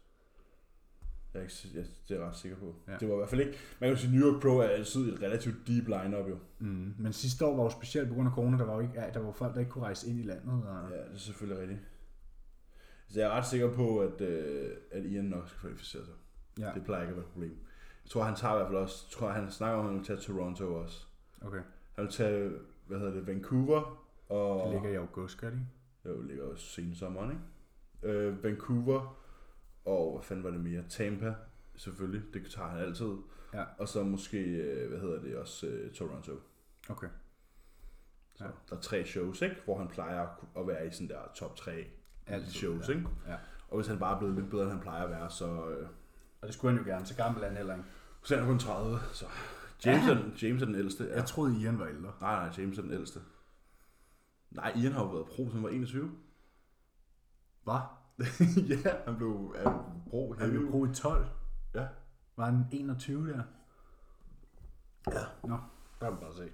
Jeg er, ikke, si- jeg, det er jeg ret sikker på. Ja. Ja. Det var i hvert fald ikke... Man kan jo sige, New York Pro er altid et relativt deep lineup jo. Mm. Men sidste år var jo specielt på grund af corona, der var jo ikke, ja, der var folk, der ikke kunne rejse ind i landet. Og... Ja, det er selvfølgelig rigtigt. Så jeg er ret sikker på, at, øh, at Ian nok skal kvalificere sig. Ja. Det plejer ikke at være et problem. Jeg tror, han tager i hvert fald også... Jeg tror, han snakker om, at han vil tage Toronto også. Okay. Han vil tage, hvad hedder det, Vancouver og... Det ligger i august, gør det ikke? Jo, det ligger også sen sommeren, ikke? Øh, Vancouver, og hvad fanden var det mere? Tampa, selvfølgelig. Det tager han altid. Ja. Og så måske, øh, hvad hedder det, også øh, Toronto. Okay. Så Ja. ja. der er tre shows, ikke? Hvor han plejer at ku- at være i sådan der top 3 Altid, altid, shows, ja. ikke? Ja. Og hvis han bare er blevet lidt bedre, end han plejer at være, så... Øh, Og det skulle han jo gerne, så gammel er han heller ikke. så er han kun 30, så... James, er, den, James er den ældste. Ja. Jeg troede, Ian var ældre. Nej, nej, James er den ældste. Nej, Ian har jo været pro, siden han var 21. Hvad? ja, han blev, han blev pro. Han blev pro i 12. Ja. Var han 21 der? ja. Nå, der kan man bare se.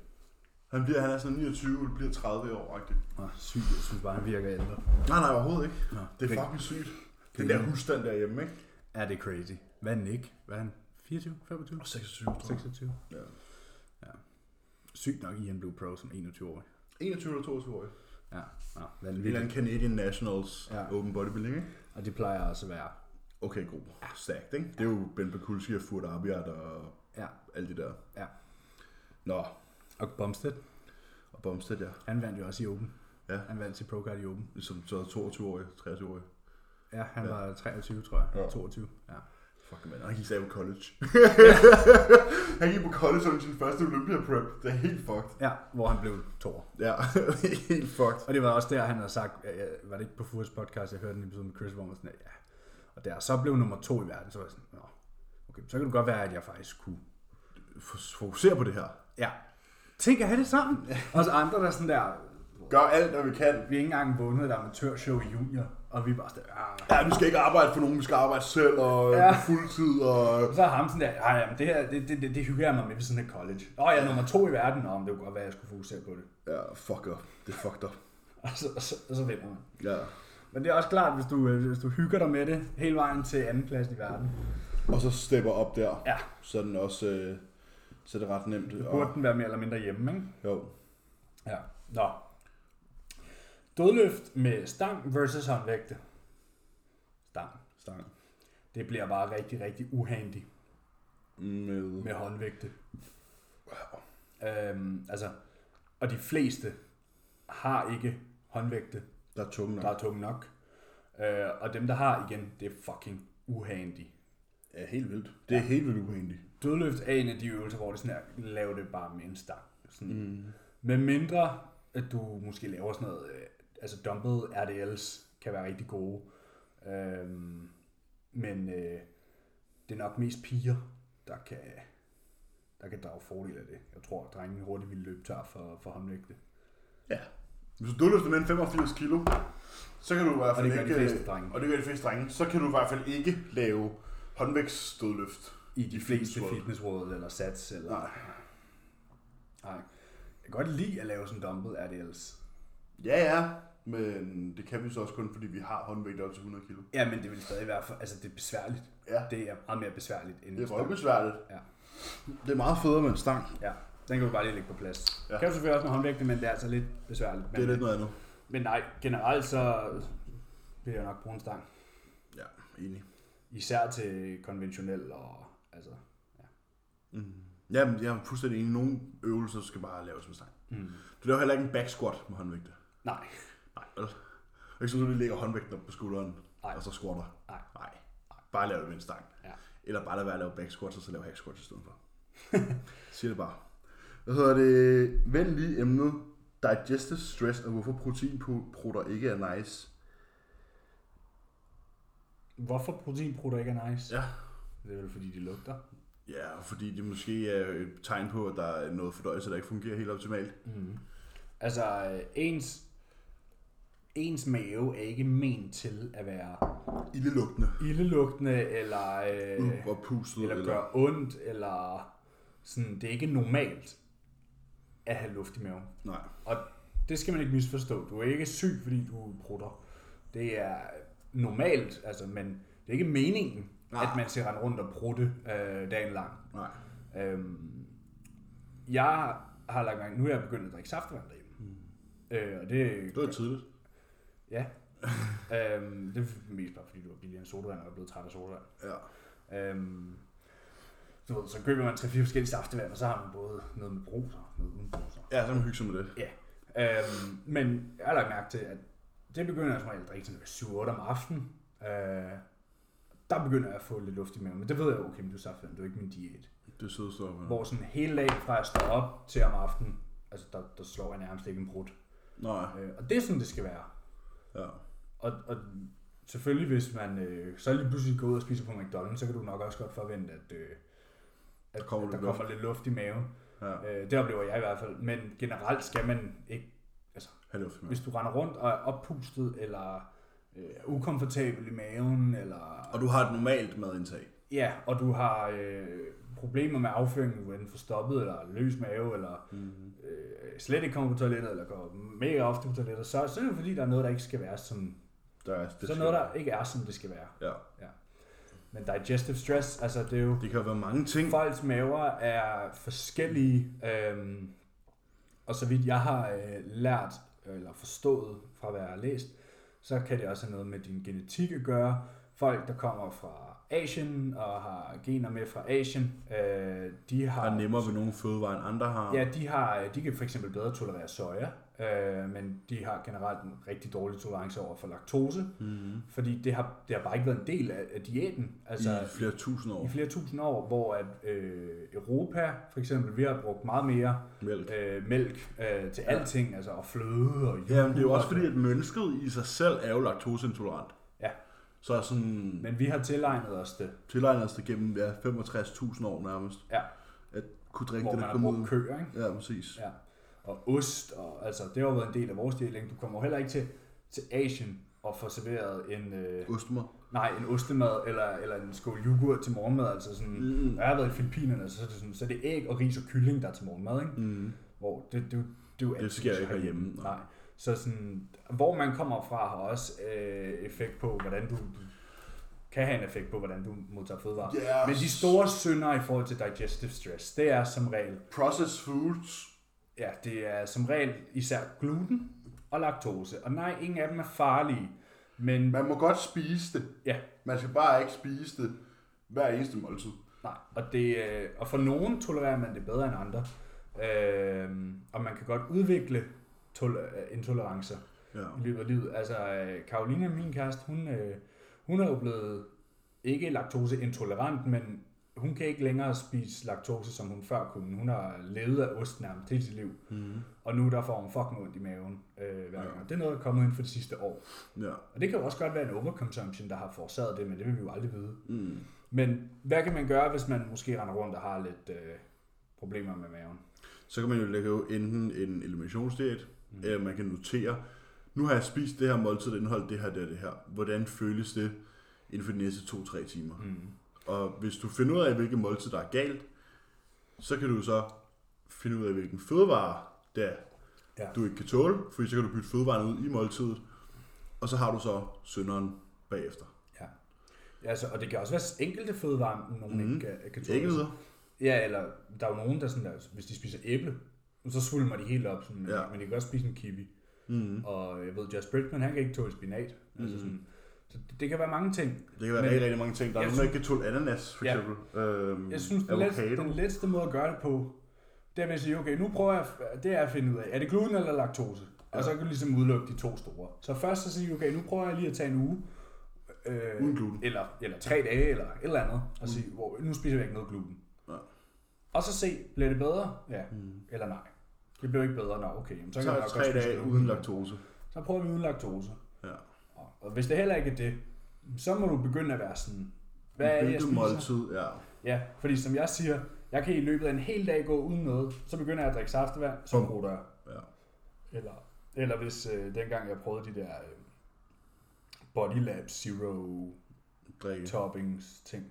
Han, bliver, han er sådan 29, bliver 30 år, agtig. Nå, sygt, jeg synes bare, han virker ældre. Nej, nej, overhovedet ikke. Nå, Det men- er fucking sygt. Den der husstand derhjemme, ikke? Er det crazy? Hvad er Nick? Hvad er han? 24? 25? 26, tror 26? Ja. Sygt nok, Ian blev pro som 21-årig. 21 eller 22 år. En Ja, nå, eller vanvittigt. anden Canadian Nationals Ja. ja. Open Bodybuilding, ikke? Og det plejer også at være. Okay, god. Stærkt, ikke? Det er jo Ben Bakulski og Furt Abiyat og Ja, alt det der. ja. Nå, Og Bumstead, og Bomstedt, ja. han vandt jo også i Open. Ja. Han vandt til ProCard i Open. Som så 22-årig, 23-årig. Ja, han ja. var 23, tror jeg. Ja. Ja. 22. Ja. Fuck, man. Han gik stadig på college. han gik på college under sin første Olympia prep. Det er helt fucked. ja, hvor han blev toer. Ja, helt fucked. Og det var også der, han havde sagt, øh, øh, var det ikke på Fures podcast, jeg hørte en episode med Chris, hvor man sådan, ja. Og der så blev nummer to i verden, så var jeg sådan, Nå, okay, så kan det godt være, at jeg faktisk kunne. Fokuser på det her. Ja. Tænk at have det sammen. Og så andre, der er sådan der, Gør alt, hvad vi kan. vi har ikke engang vundet et amatørshow i junior, og vi er bare sådan, ah. Ja, vi skal ikke arbejde for nogen, vi skal arbejde selv og Ja. ja. fuldtid og... Og så er ham sådan der, nej, det her, det, det, det, det hygger jeg mig med ved sådan et college. Åh, jeg er nummer to i verden, om det kunne godt være, at jeg skulle fokusere på det. Ja, fuck up. Det er fucked up. Og så, og så, og så vinder man. Ja. Men det er også klart, hvis du, øh, hvis du hygger dig med det hele vejen til anden plads i verden, Og så stepper op der. Ja. Så er den også... Øh, så er det ret nemt. burde Og, den være mere eller mindre hjemme, ikke? jo. Ja, nå. Dødløft med stang versus håndvægte. Stang. Stang. Det bliver bare rigtig, rigtig uhandy Med... med håndvægte. Øhm, altså, og de fleste har ikke håndvægte, Der er tunge nok. der er tunge nok. Øh, og dem, der har igen, det er fucking uhandy. Ja, helt vildt. Det er helt vildt uenigt. Dødløft er en af de øvelser, hvor det sådan her, lav det bare med en stang. Sådan. Mm. Med mindre, at du måske laver sådan noget, øh, altså dumpet RDL's kan være rigtig gode. Øhm, men øh, det er nok mest piger, der kan, der kan drage fordel af det. Jeg tror, at drengene hurtigt ville løbe tør for, for håndvægte. Ja. Hvis du løfter mere end 85 kilo, så kan du i hvert Og fald det gør de ikke... øh, fleste drenge. og det gør de fleste drenge. Så kan du i hvert fald ikke lave håndvægtsstødløft. I de fleste Fitnessråd. fitnessråd eller sats. Eller, Nej. Nej. Jeg kan godt lide at lave sådan en dumbbell RDLs. Ja, ja. Men det kan vi så også kun, fordi vi har håndvægt op til 100 kilo. Ja, men det vil stadig være for, altså det er besværligt. Ja, Det er meget mere besværligt end det er en stang. røgbesværligt. Ja. Det er meget federe med en stang. Ja, den kan du bare lige lægge på plads. Ja. Ja. Kan du selvfølgelig også med håndvægte, men det er altså lidt besværligt. Men, Det er lidt noget andet. men nej, generelt så vil jeg nok bruge en stang. Ja, enig. Især til konventionel og altså... Mm. Ja, men jeg er fuldstændig enig. Nogle øvelser skal bare laves med stang. Mm. Du laver heller ikke en back squat med håndvægte. Nej, Nej, vel? Det er Ikke sådan, at du lige lægger håndvægten op på skulderen, Nej. og så squatter. Nej. Nej. Bare lav det med en stang. Ja. Eller bare lad være at lave back squats, og så lave hack squats i stedet for. Siger det bare. Hvad hedder det? Vend lige emnet digestive stress, og hvorfor proteinprutter ikke er nice. hvorfor proteinprutter ikke er nice? Ja. Det er vel fordi, de lugter. Ja, fordi det måske er et tegn på, at der er noget fordøjelse, der ikke fungerer helt optimalt. Mm. Altså, øh, ens, ens mave er ikke ment til at være Ildelugtende. ildelugtende, eller, øh, Øh, og puslet. eller gøre ondt, eller sådan. Det er ikke normalt at have luft i maven. Nej. Og det skal man ikke misforstå. Du er ikke syg, fordi du prutter. Det er normalt, altså, men det er ikke meningen, Nej. at man skal rende rundt og prutte øh, dagen lang. Nej. Øhm, jeg har lagt mærke, nu er jeg begyndt at drikke saftevand derhjemme. Mm. Øh, og det, Det var tidligt. ja. øhm, det er mest bare fordi, du var billigere end sodavand, og jeg er blevet træt af sodavand. Ja. Øhm, du ved, så køber man 3-4 forskellige saftevand, og så har man både noget med brus og noget uden brus. og- Ja, så kan man hygge sig med det. Ja. Øhm, men jeg har lagt mærke til, at det begynder jeg som regel at drikke sådan 7-8 om aftenen. Øh, der begynder jeg at få lidt luft i maven, men det ved jeg jo, okay, men du er saftevand, det er jo ikke min diæt. Det er sødt stof. Hvor sådan hele dagen fra jeg står op til om aftenen, altså der, der slår jeg nærmest ikke en brud. Nej. Øh, og det er sådan, det skal være. Ja. Og, og selvfølgelig, hvis man øh, så lige pludselig går ud og spiser på McDonald's, så kan du nok også godt forvente, at, øh, at Der kommer at lidt der kommer lidt luft i maven. Ja. Øh, det oplever jeg i hvert fald. Men generelt skal man ikke, altså Have luft med. hvis du render rundt og er oppustet, eller øh, er ukomfortabel i maven, eller Og du har et normalt madindtag. Ja, og du har øh, problemer med afføringen, du er enten forstoppet, eller løs mave, eller Mhm. mm-hmm. øh, slet ikke kommer på toilettet, eller går mega ofte på toilettet, så, så er det fordi, der er noget, der ikke skal være, som, Der er, det det så er noget, der ikke er, som det skal være. Ja. Men digestive stress, altså det er jo, Det kan jo være mange ting. folks maver er forskellige, øhm, og så vidt jeg har øh, lært, eller forstået fra hvad jeg har læst, så kan det også have noget med din genetik at gøre. Folk, der kommer fra Asien og har gener med fra Asien, øh, de Der har... er nemmere ved nogle fødevarer, end andre har. Ja, de, har, øh, de kan for eksempel bedre tolerere soja, øh, men de har generelt en rigtig dårlig tolerance over for laktose, Mm-hmm. fordi det har, det har bare ikke været en del af, af diæten. Altså, Altså, I flere tusind år. i flere tusind år, hvor at øh, Europa for eksempel, vi har brugt meget mere Mælk. øh, mælk øh, til alting, altså og fløde og yoghurt. Ja, men det er jo også fordi, at mennesket i sig selv er jo laktoseintolerant. Ja. Så er sådan Men vi har tilegnet os det, tilegnet os det gennem ja, 65.000 år nærmest. ja, At kunne drikke hvor det, man der har kom ud. brugt køer, ikke? Ja, præcis. Ja. Ja. Og ost, og, altså det har jo været en del af vores deling. Du kommer jo heller ikke til, til Asien og får serveret en, øh, Ostemer. nej, en ostemad eller, eller en skål yoghurt til morgenmad. Altså sådan, Mm. når jeg har været i Filippinerne, så er det, sådan, så er det æg og ris og kylling, der er til morgenmad, ikke? Mm. hvor det, det, det, det, er jo altid sker ikke sådan. herhjemme, nej. Nej. Så sådan, hvor man kommer fra har også øh, effekt på, hvordan du kan have en effekt på, hvordan du modtager fødevarer. Yes. Men de store synder i forhold til digestive stress, det er som regel, Processed foods. ja, det er som regel især gluten og laktose. Og nej, ingen af dem er farlige, men Man må godt spise det. ja, Man skal bare ikke spise det hver eneste måltid. Nej, og, det, øh, og for nogen tolererer man det bedre end andre. Øh, og man kan godt udvikle tol- øh, intolerancer Ja. i løbet af livet. Altså, øh, Karoline, min kæreste, hun, øh, hun er jo blevet ikke laktoseintolerant, men hun kan ikke længere spise laktose, som hun før kunne. Hun har levet af ost nærmest hele sit liv, Mm. og nu der får hun fucking ondt i maven øh, hver Ja. gang. Og Det er noget, der er kommet ind for det sidste år. Ja. Og det kan jo også godt være en overconsumption, der har forårsaget det, men det vil vi jo aldrig vide. Mm. Men hvad kan man gøre, hvis man måske render rundt og har lidt øh, problemer med maven? så kan man jo lægge jo enten en eliminationsdiæt, mm. eller man kan notere, nu har jeg spist det her måltid, der indeholder det her, det her, det her. Hvordan føles det inden for de næste 2-3 timer? Mm. Og hvis du finder ud af, hvilket måltid, der er galt, så kan du så finde ud af, hvilken fødevare, der Ja. ja. du ikke kan tåle, fordi så kan du bytte fødevaren ud i måltidet, og så har du så sønderen bagefter. Ja. Altså, og det kan også være enkelte fødevarer, nogen mm. ikke kan, kan tåle. Mhm. Ikke videre. Ja, eller der er jo nogen, der sådan, der, hvis de spiser æble, så svulmer de helt op, sådan, men, ja. Ja. men de kan også spise en kiwi. Mm. Og jeg ved, Josh Bridgman, han kan ikke tåle spinat. Mm. Altså sådan, så det, det kan være mange ting. Det kan være Men- rigtig, rigtig mange ting. Der er Jeg nogen, der ikke kan tåle ananas, for Ja. eksempel. Øhm, Jeg synes, den, let, avocado. den letteste måde at gøre det på, det er ved at sige, okay, nu prøver jeg, det er at finde ud af, er det gluten eller laktose? Og så kan du ligesom udelukke de to store. Så først så sige, okay, nu prøver jeg lige at tage en uge, øh, Uden gluten. Eller, eller tre dage, eller et eller andet, og sige, hvor, nu spiser jeg ikke noget gluten. Mm. Ja. Og så se, bliver det bedre? Ja, mm. eller nej. Det blev ikke bedre, nå okay. Jamen, så, Så kan jeg er nok det godt tre spise dage gluten. uden laktose. Så prøver vi uden laktose. Ja. Og- Og hvis det heller ikke er det, så må du begynde at være sådan, hvad er det, jeg Hvilket spiser? måltid, ja. Ja, fordi som jeg siger, jeg kan i løbet af en hel dag gå uden noget, så begynder jeg at drikke saftevand, så Bum. rutter jeg. ja. Eller, eller hvis øh, dengang jeg prøvede de der øh, Body Lab Zero Drikke. Toppings ting.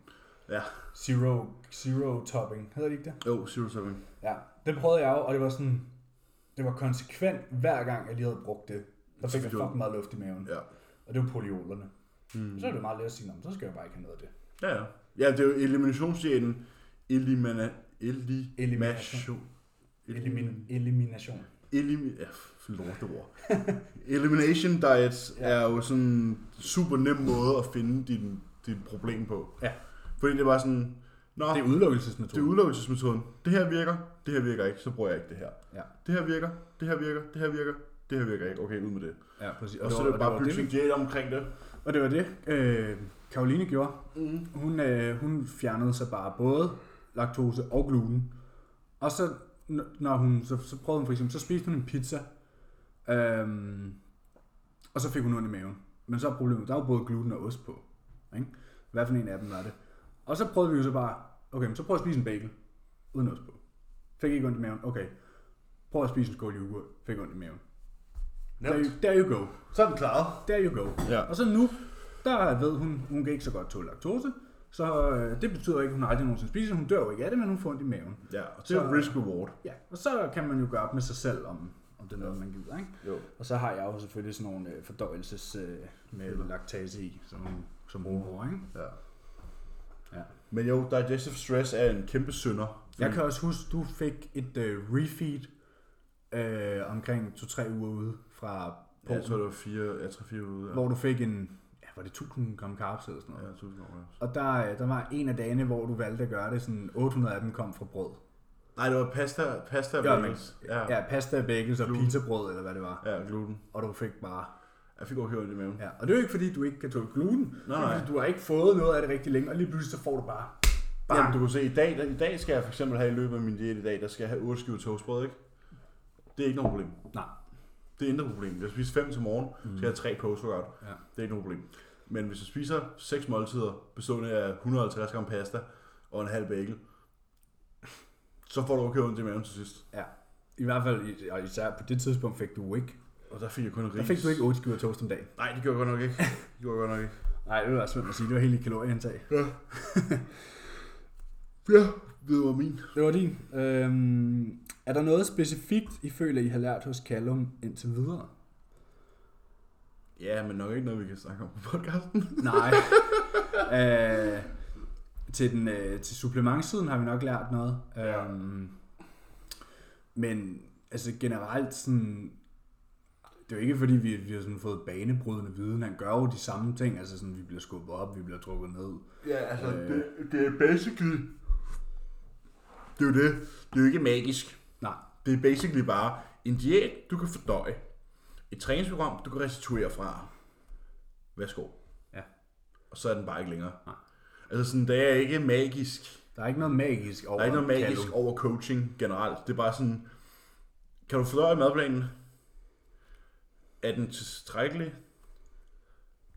Ja. Zero, zero Topping, hedder det ikke det? Jo, zero seven. Ja, det prøvede jeg jo, og det var sådan, det var konsekvent hver gang, jeg lige havde brugt det. Der fik jeg Fjol. fucking meget luft i maven. Ja. Og det var poliolerne. Mm. Så er det meget let at sige, "Nå, men så skal jeg bare ikke have noget af det. Ja, ja. Ja, det er jo eliminationsdiæten. Elimina, eli, Elimination. Elimin, elimination. Elim, ja, lorte ord. Elimination diet Ja. ja. er jo sådan en super nem måde at finde din, din problem på. Ja. Fordi det er bare sådan, Nå, det Det er, er udelukkelsesmetoden. det er udelukkelsesmetoden. Det her virker, det her virker ikke, så bruger jeg ikke det her. Ja. Det her virker, det her virker, det her virker, det her virker ikke. Okay, ud med det. Ja, præcis. Og så er det bare at bygge det, sin diæt omkring det. og det var det, øh, Karoline gjorde. Mm. Hun, øh, hun fjernede sig bare både laktose og gluten. Og så, n- når hun, så, så prøvede hun for eksempel, så spiste hun en pizza. Øhm, og så fik hun ondt i maven. Men så er problemet, der var både gluten og ost på. Ikke? Hvad for en af dem var det? Og så prøvede vi jo så bare, okay, men så prøv at spise en bagel. Uden ost på. Fik ikke ondt i maven. Okay. Prøv at spise en skål yoghurt. Fik ondt i maven. There you, there you go. Så er den klaret. There you go. Ja. Og så nu, der ved hun, hun kan ikke så godt tåle laktose, så øh, det betyder ikke, at hun aldrig nogensinde spiser. Hun dør jo ikke af det, men hun får ondt i maven. Ja, og det er Så- risk reward. Ja, og så kan man jo gøre op med sig selv, om, om det er noget, man gider, ikke? Jo. Og så har jeg jo selvfølgelig sådan nogle øh, fordøjelses øh, med laktase i, som, som hun bruger, ikke? Ja. Ja. Men jo, digestive stress er en kæmpe synder. Jeg kan også huske, du fik et øh, refeed øh, omkring 2-3 uger ude fra Ja, Polen, jeg tror, det var fire, ja, tre, fire ude. Ja. hvor du fik en, ja, var det 1000 gram carbs eller sådan noget? Ja, tusind år, ja. Og der, øh, der var en af dagene, hvor du valgte at gøre det, sådan 800 af dem kom fra brød. Nej, det var pasta, pasta og Ja, men- bagels. Ja, ja pasta, bagels og pizzabrød, eller hvad det var. ja, gluten. Og du fik bare... Jeg fik overhørt i maven. Ja. Ja. Og det er jo ikke, fordi du ikke kan tåle gluten. det er, nej. fordi du har ikke fået noget af det rigtig længe, og lige pludselig så får du bare... Bang. Jamen, du kan se, i dag, der, i dag skal jeg for eksempel have i løbet af min diæt i dag, der skal jeg have 8 skiver toastbrød, ikke? Det er ikke noget problem. Nej. Det er intet problem. Hvis jeg spiser 5 til morgen, mm. skal jeg have 3 post workout. Ja. Det er ikke noget problem. Men hvis jeg spiser 6 måltider, bestående af 150 gram pasta og en halv bagel, så får du okay ondt i maven til sidst. Ja. I hvert fald, i- og især på det tidspunkt, fik du ikke. Og der fik jeg kun ris. Der fik du ikke 8 skiver toast om dagen. Nej, det gjorde jeg godt nok ikke. Det gjorde jeg godt nok ikke. Nej, det var svært at sige. Det var helt i kalorieindtag. Ja. ja, det var min. Det var din. Øhm, er der noget specifikt, I føler, I har lært hos Callum indtil videre? Ja, men nok ikke noget, vi kan snakke om på podcasten. Nej. øh, til, den, øh, til supplementsiden har vi nok lært noget. Ja. Øhm, men altså generelt sådan... Det er jo ikke fordi, vi, vi har sådan fået banebrydende viden. Han gør jo de samme ting. Altså sådan, vi bliver skubbet op, vi bliver trukket ned. Ja, altså, det, det er basically... Det er jo det. Det er jo ikke magisk. Nej, Det er basically bare en diæt, du kan fordøje. Et træningsprogram, du kan restituere fra. Værsgo. Ja. Og så er den bare ikke længere. Nej. Altså sådan, det er ikke magisk. der er ikke noget magisk over Der er ikke noget magisk Callum. over coaching generelt. Det er bare sådan, kan du fordøje madplanen? Er den tilstrækkelig?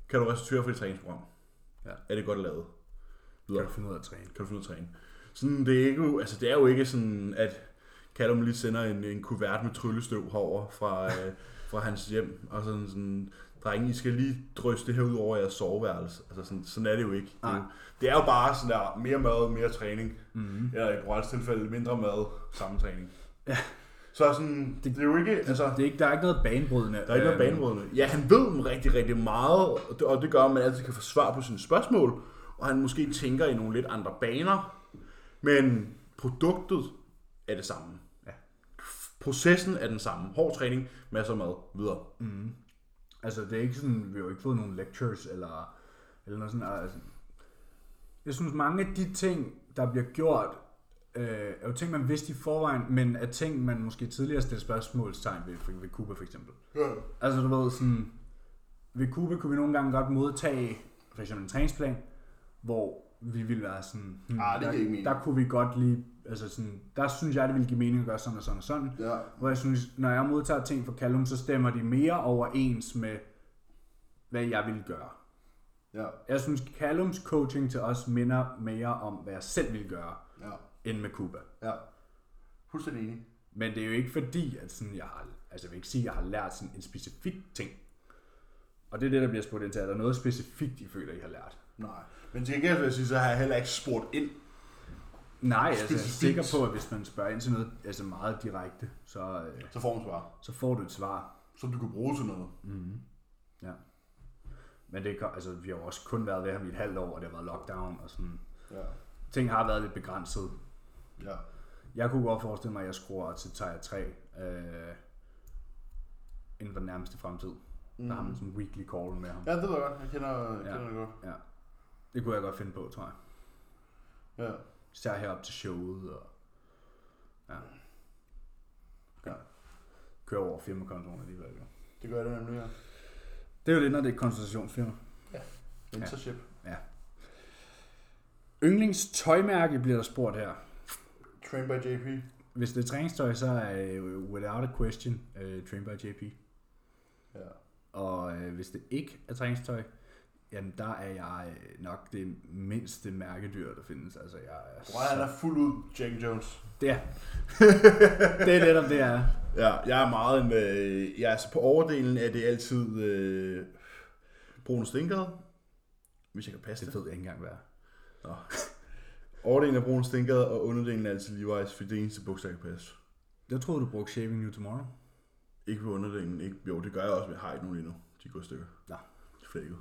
Kan du restituere for dit træningsprogram? Ja. Er det godt lavet? Kan Videre. du finde ud af at træne? Kan du finde ud af at træne? Sådan, det, er ikke, jo- altså, det er jo ikke sådan, at Callum lige sender en, en kuvert med tryllestøv herover fra, øh, fra hans hjem, og sådan sådan, drenge, I skal lige drysse det her ud over jeres soveværelse. Altså sådan, sådan er det jo ikke. Det er jo, Nej. det er jo bare sådan der, mere mad, mere træning. Mm-hmm. Eller i Borals tilfælde, mindre mad, samme træning. Ja. Så sådan, det, det er jo ikke, altså, Altså, det er ikke, der er ikke noget banebrydende. øh, der er ikke noget banebrydende. Ja, han ved dem rigtig, rigtig meget, og det, og det gør, at man altid kan få svar på sine spørgsmål, og han måske tænker i nogle lidt andre baner, men produktet er det samme. Ja. Processen er den samme. Hård træning, masser af mad, videre. Altså, det er ikke sådan, vi har jo ikke fået nogen lectures eller, eller noget sådan. Altså, jeg synes, mange af de ting, der bliver gjort, øh, er jo ting, man vidste i forvejen, men er ting, man måske tidligere stillede spørgsmålstegn ved, for- ved Cuba for eksempel. Altså, du ved, sådan, ved Cuba kunne vi nogle gange godt modtage for eksempel en træningsplan, hvor vi ville være sådan, hmm, Ah, det giver ikke der, mening. der kunne vi godt lige, altså sådan, der synes jeg, det ville give mening at gøre sådan og sådan og sådan. Ja. Hvor jeg synes, når jeg modtager ting fra Callum, så stemmer de mere overens med, hvad jeg ville gøre. Ja. Jeg synes, Callums coaching til os minder mere om, hvad jeg selv ville gøre, Ja. end med Cuba. Ja. Fuldstændig enig. Men det er jo ikke fordi, at sådan, jeg har, altså jeg vil ikke sige, at jeg har lært sådan en specifik ting. Og det er det, der bliver spurgt ind til. Er der noget specifikt, I føler, I har lært? Nej. Men til gengæld vil jeg sige, så har jeg heller ikke spurgt ind. Nej, altså jeg er sikker Specifikt. på, at hvis man spørger ind til noget altså meget direkte, så, øh, Så får man svar, så får du et svar. som du kan bruge til noget. Ja. Men det, kan- altså, vi har jo også kun været ved ham i et halvt år, og det har været lockdown, og sådan. Ja. Ting har været lidt begrænset. Ja. Jeg kunne godt forestille mig, at jeg skruer til Tier 3 øh, inden for den nærmeste fremtid. Mm. Der har Mm-hmm. man sådan en weekly call med ham. Ja, det ved jeg godt. Jeg kender, jeg Ja. kender det godt. Ja. Det kunne jeg godt finde på, tror jeg. Ja. Især herop til showet og ja. ja. Kører over firmakontoren alligevel. Jo. Det gør det nemlig, ja. Det er jo det, når det er et konsultationsfirma. Mentorship. Yndlings tøjmærke bliver der spurgt her. Train by JP. Hvis det er træningstøj, så er øh, without a question øh, Train by JP. Ja. Og øh, hvis det ikke er træningstøj, jamen der er jeg øh, nok det mindste mærkedyr, der findes. Altså, jeg er Brød, han er fuld ud Jack Jones. Det er. det er netop det, jeg er. Ja, jeg er meget en... Øh, ja, altså på overdelen er det altid øh, brune stinkere. Hvis jeg kan passe Det det. ved jeg ikke engang, hvad er. Nå. Overdelen er brune stinkere, og underdelen er altid Levi's, for det er det eneste bukser, jeg kan passe. Jeg troede, du brugte Shaving New Tomorrow. Ikke på underdelen. Ikke, jo, det gør jeg også, men jeg har ikke nogen endnu. De går i stykker. Nå. De er flækket.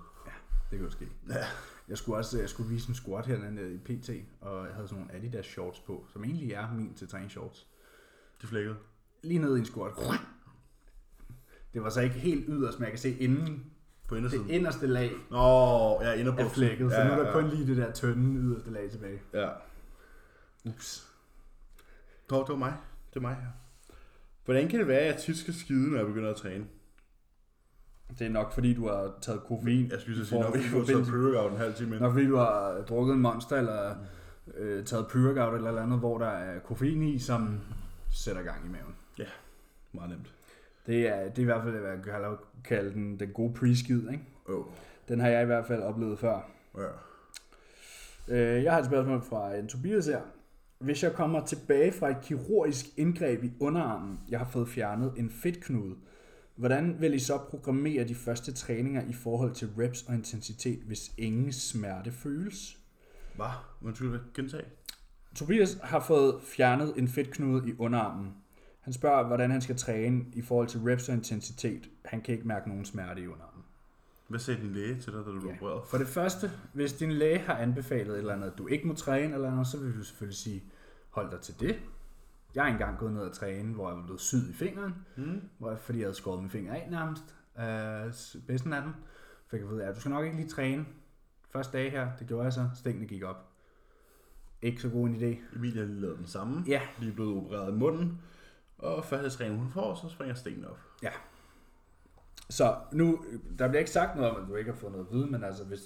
Det kan jo ske. Ja. Jeg skulle også jeg skulle vise en squat her den anden dag i PT, og jeg havde sådan nogle Adidas shorts på, som egentlig er min til træning shorts. De er flækket. Lige ned i en squat. Det var så ikke helt yderst, men jeg kan se inden På indersiden. det inderste lag Nå, jeg er inde på er flækket, så nu er der kun lige det der tynde yderste lag tilbage. Ja. Ups. Nå, det var mig. Det er mig her. Hvordan kan det være, at jeg tit skal skide, når jeg begynder at træne? Det er nok fordi, du har taget koffein. Jeg skulle så i sige, når vi forhold- ikke i får taget forbindelse- pre-workout en halv time ind. Nok fordi du har drukket en monster, eller øh, taget pre-workout eller et eller andet, hvor der er koffein i, som sætter gang i maven. Meget nemt. Det er, det er i hvert fald, hvad jeg kalder, kalder den, den gode pre-skid. Ikke? Åh, oh. Den har jeg i hvert fald oplevet før. ja. Øh, jeg har et spørgsmål fra en Tobias her. Hvis jeg kommer tilbage fra et kirurgisk indgreb i underarmen, jeg har fået fjernet en fedtknude, hvordan vil I så programmere de første træninger i forhold til reps og intensitet, hvis ingen smerte føles? Hvad? Undskyld, hvad? Gentag. Tobias har fået fjernet en fedtknude i underarmen. Han spørger, hvordan han skal træne i forhold til reps og intensitet. Han kan ikke mærke nogen smerte i underarmen. Hvad sagde din læge til dig, da du blev opereret? For det første, hvis din læge har anbefalet et eller andet, at du ikke må træne eller andet, så vil du selvfølgelig sige, hold dig til det. Jeg er engang gået ned og træne, hvor jeg var blevet syd i fingeren, Mm. hvor jeg, fordi jeg havde skåret min finger af nærmest, øh, s- bedsten af den. Fik jeg at vide, at du skal nok ikke lige træne. Første dag her, det gjorde jeg så, stængene gik op. Ikke så god en idé. Emilie har lige lavet den samme. Ja, Lige blevet opereret i munden. Og første træning, hun får, så springer stenen op. Ja. Så nu, der bliver ikke sagt noget om, at du ikke har fået noget at vide, men altså hvis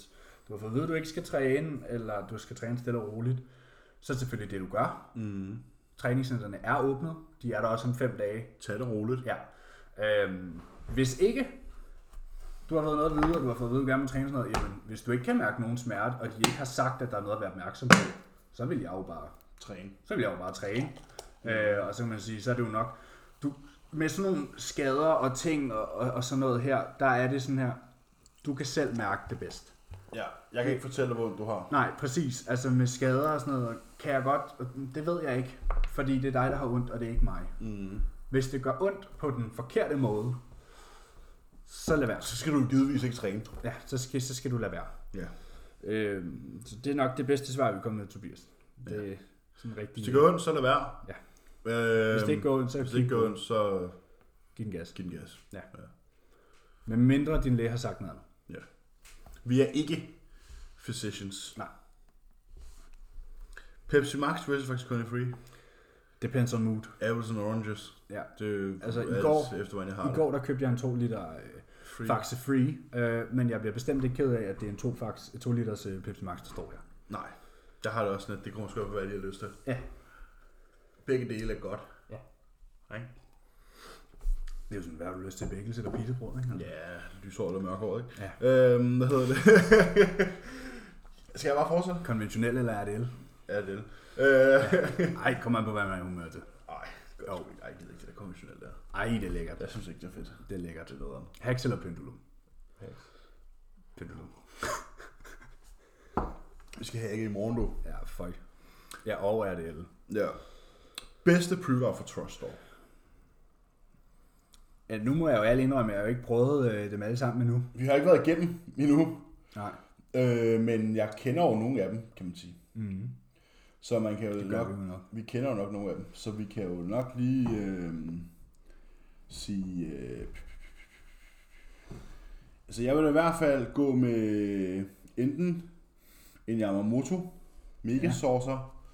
du har fået at vide, at du ikke skal træne, eller du skal træne stille og roligt, så er det selvfølgelig det, du gør. Mm. Træningscentrene er åbnet. De er der også om fem dage. Tag det roligt. Ja. Øhm, hvis ikke du har fået noget at vide, og du har fået at vide, at du gerne vil træne sådan noget, jamen, hvis du ikke kan mærke nogen smerte, og de ikke har sagt, at der er noget at være opmærksom på, så vil jeg jo bare Træn. så vil jeg jo bare træne. Øh, og så kan man sige, så er det jo nok. Du, med sådan nogle skader og ting og, og, og sådan noget her, der er det sådan her, du kan selv mærke det bedst. Ja, jeg kan ikke fortælle, hvor ondt du har. Nej, præcis. Altså med skader og sådan noget, kan jeg godt, det ved jeg ikke, fordi det er dig, der har ondt, og det er ikke mig. Mm. Hvis det gør ondt på den forkerte måde, så lad være. Så skal du jo givetvis ikke træne. Ja, så skal, så skal du lade være. Ja. Øh, så det er nok det bedste svar, vi kommer med, Tobias. Det er sådan rigtig... Hvis det gør ondt, så lad være. Ja. Øhm, hvis det ikke går ondt, så hvis det ikke gør ondt, så giv den gas. giv den gas. Men mindre din læge har sagt noget andet. Ja. Vi er ikke physicians. Nej. Pepsi Max versus faktisk Coney Free. Depends on mood. Apples and oranges. Ja. Det er Altså, i alt går- efter, hvordan jeg har I går der købte jeg en 2 liter øh, det. Free. Faxe Free, øh, men jeg bliver bestemt ikke ked af, at det er en 2, fax, 2 liters øh, Pepsi Max, der står her. Nej. Jeg har det også sådan, at det kommer sgu op, hvad jeg lige har lyst til. Ja. Begge dele er godt. Ja. Ikke? Det er jo sådan, hvad har du lyst til? Bækkelse eller pizzabrød, ikke? Altså. Ja, lyshåret og mørkhåret, ikke? Ja. Øhm, hvad hedder det? Skal jeg bare fortsætte? Konventionel eller RDL? Ja, det er det. Øh, Ej, kom an på, hvad man er i humør til. ej, godt. Jo. Ej, jeg gider ikke det der konventionelle der. Ej, det er lækkert. Jeg synes ikke, det er fedt. Det er lækkert. Det er noget om. Haks eller pendulum? Pendulum. Vi skal have ikke i morgen, du. Ja, fuck. Ja, og RDL. Ja. Bedste pre-roll for Trust Store. Ja, nu må jeg jo alle indrømme, at jeg har jo ikke prøvet øh, dem alle sammen endnu. Vi har ikke været igennem endnu, Nej. øh, men jeg kender jo nogle af dem, kan man sige. Mm-hmm. Så man kan jo Det gør nok, vi jo nok. vi kender jo nok nogle af dem, så vi kan jo nok lige øh, sige... Øh, altså jeg vil i hvert fald gå med enten en Yamamoto, Mega Ja. Saucer,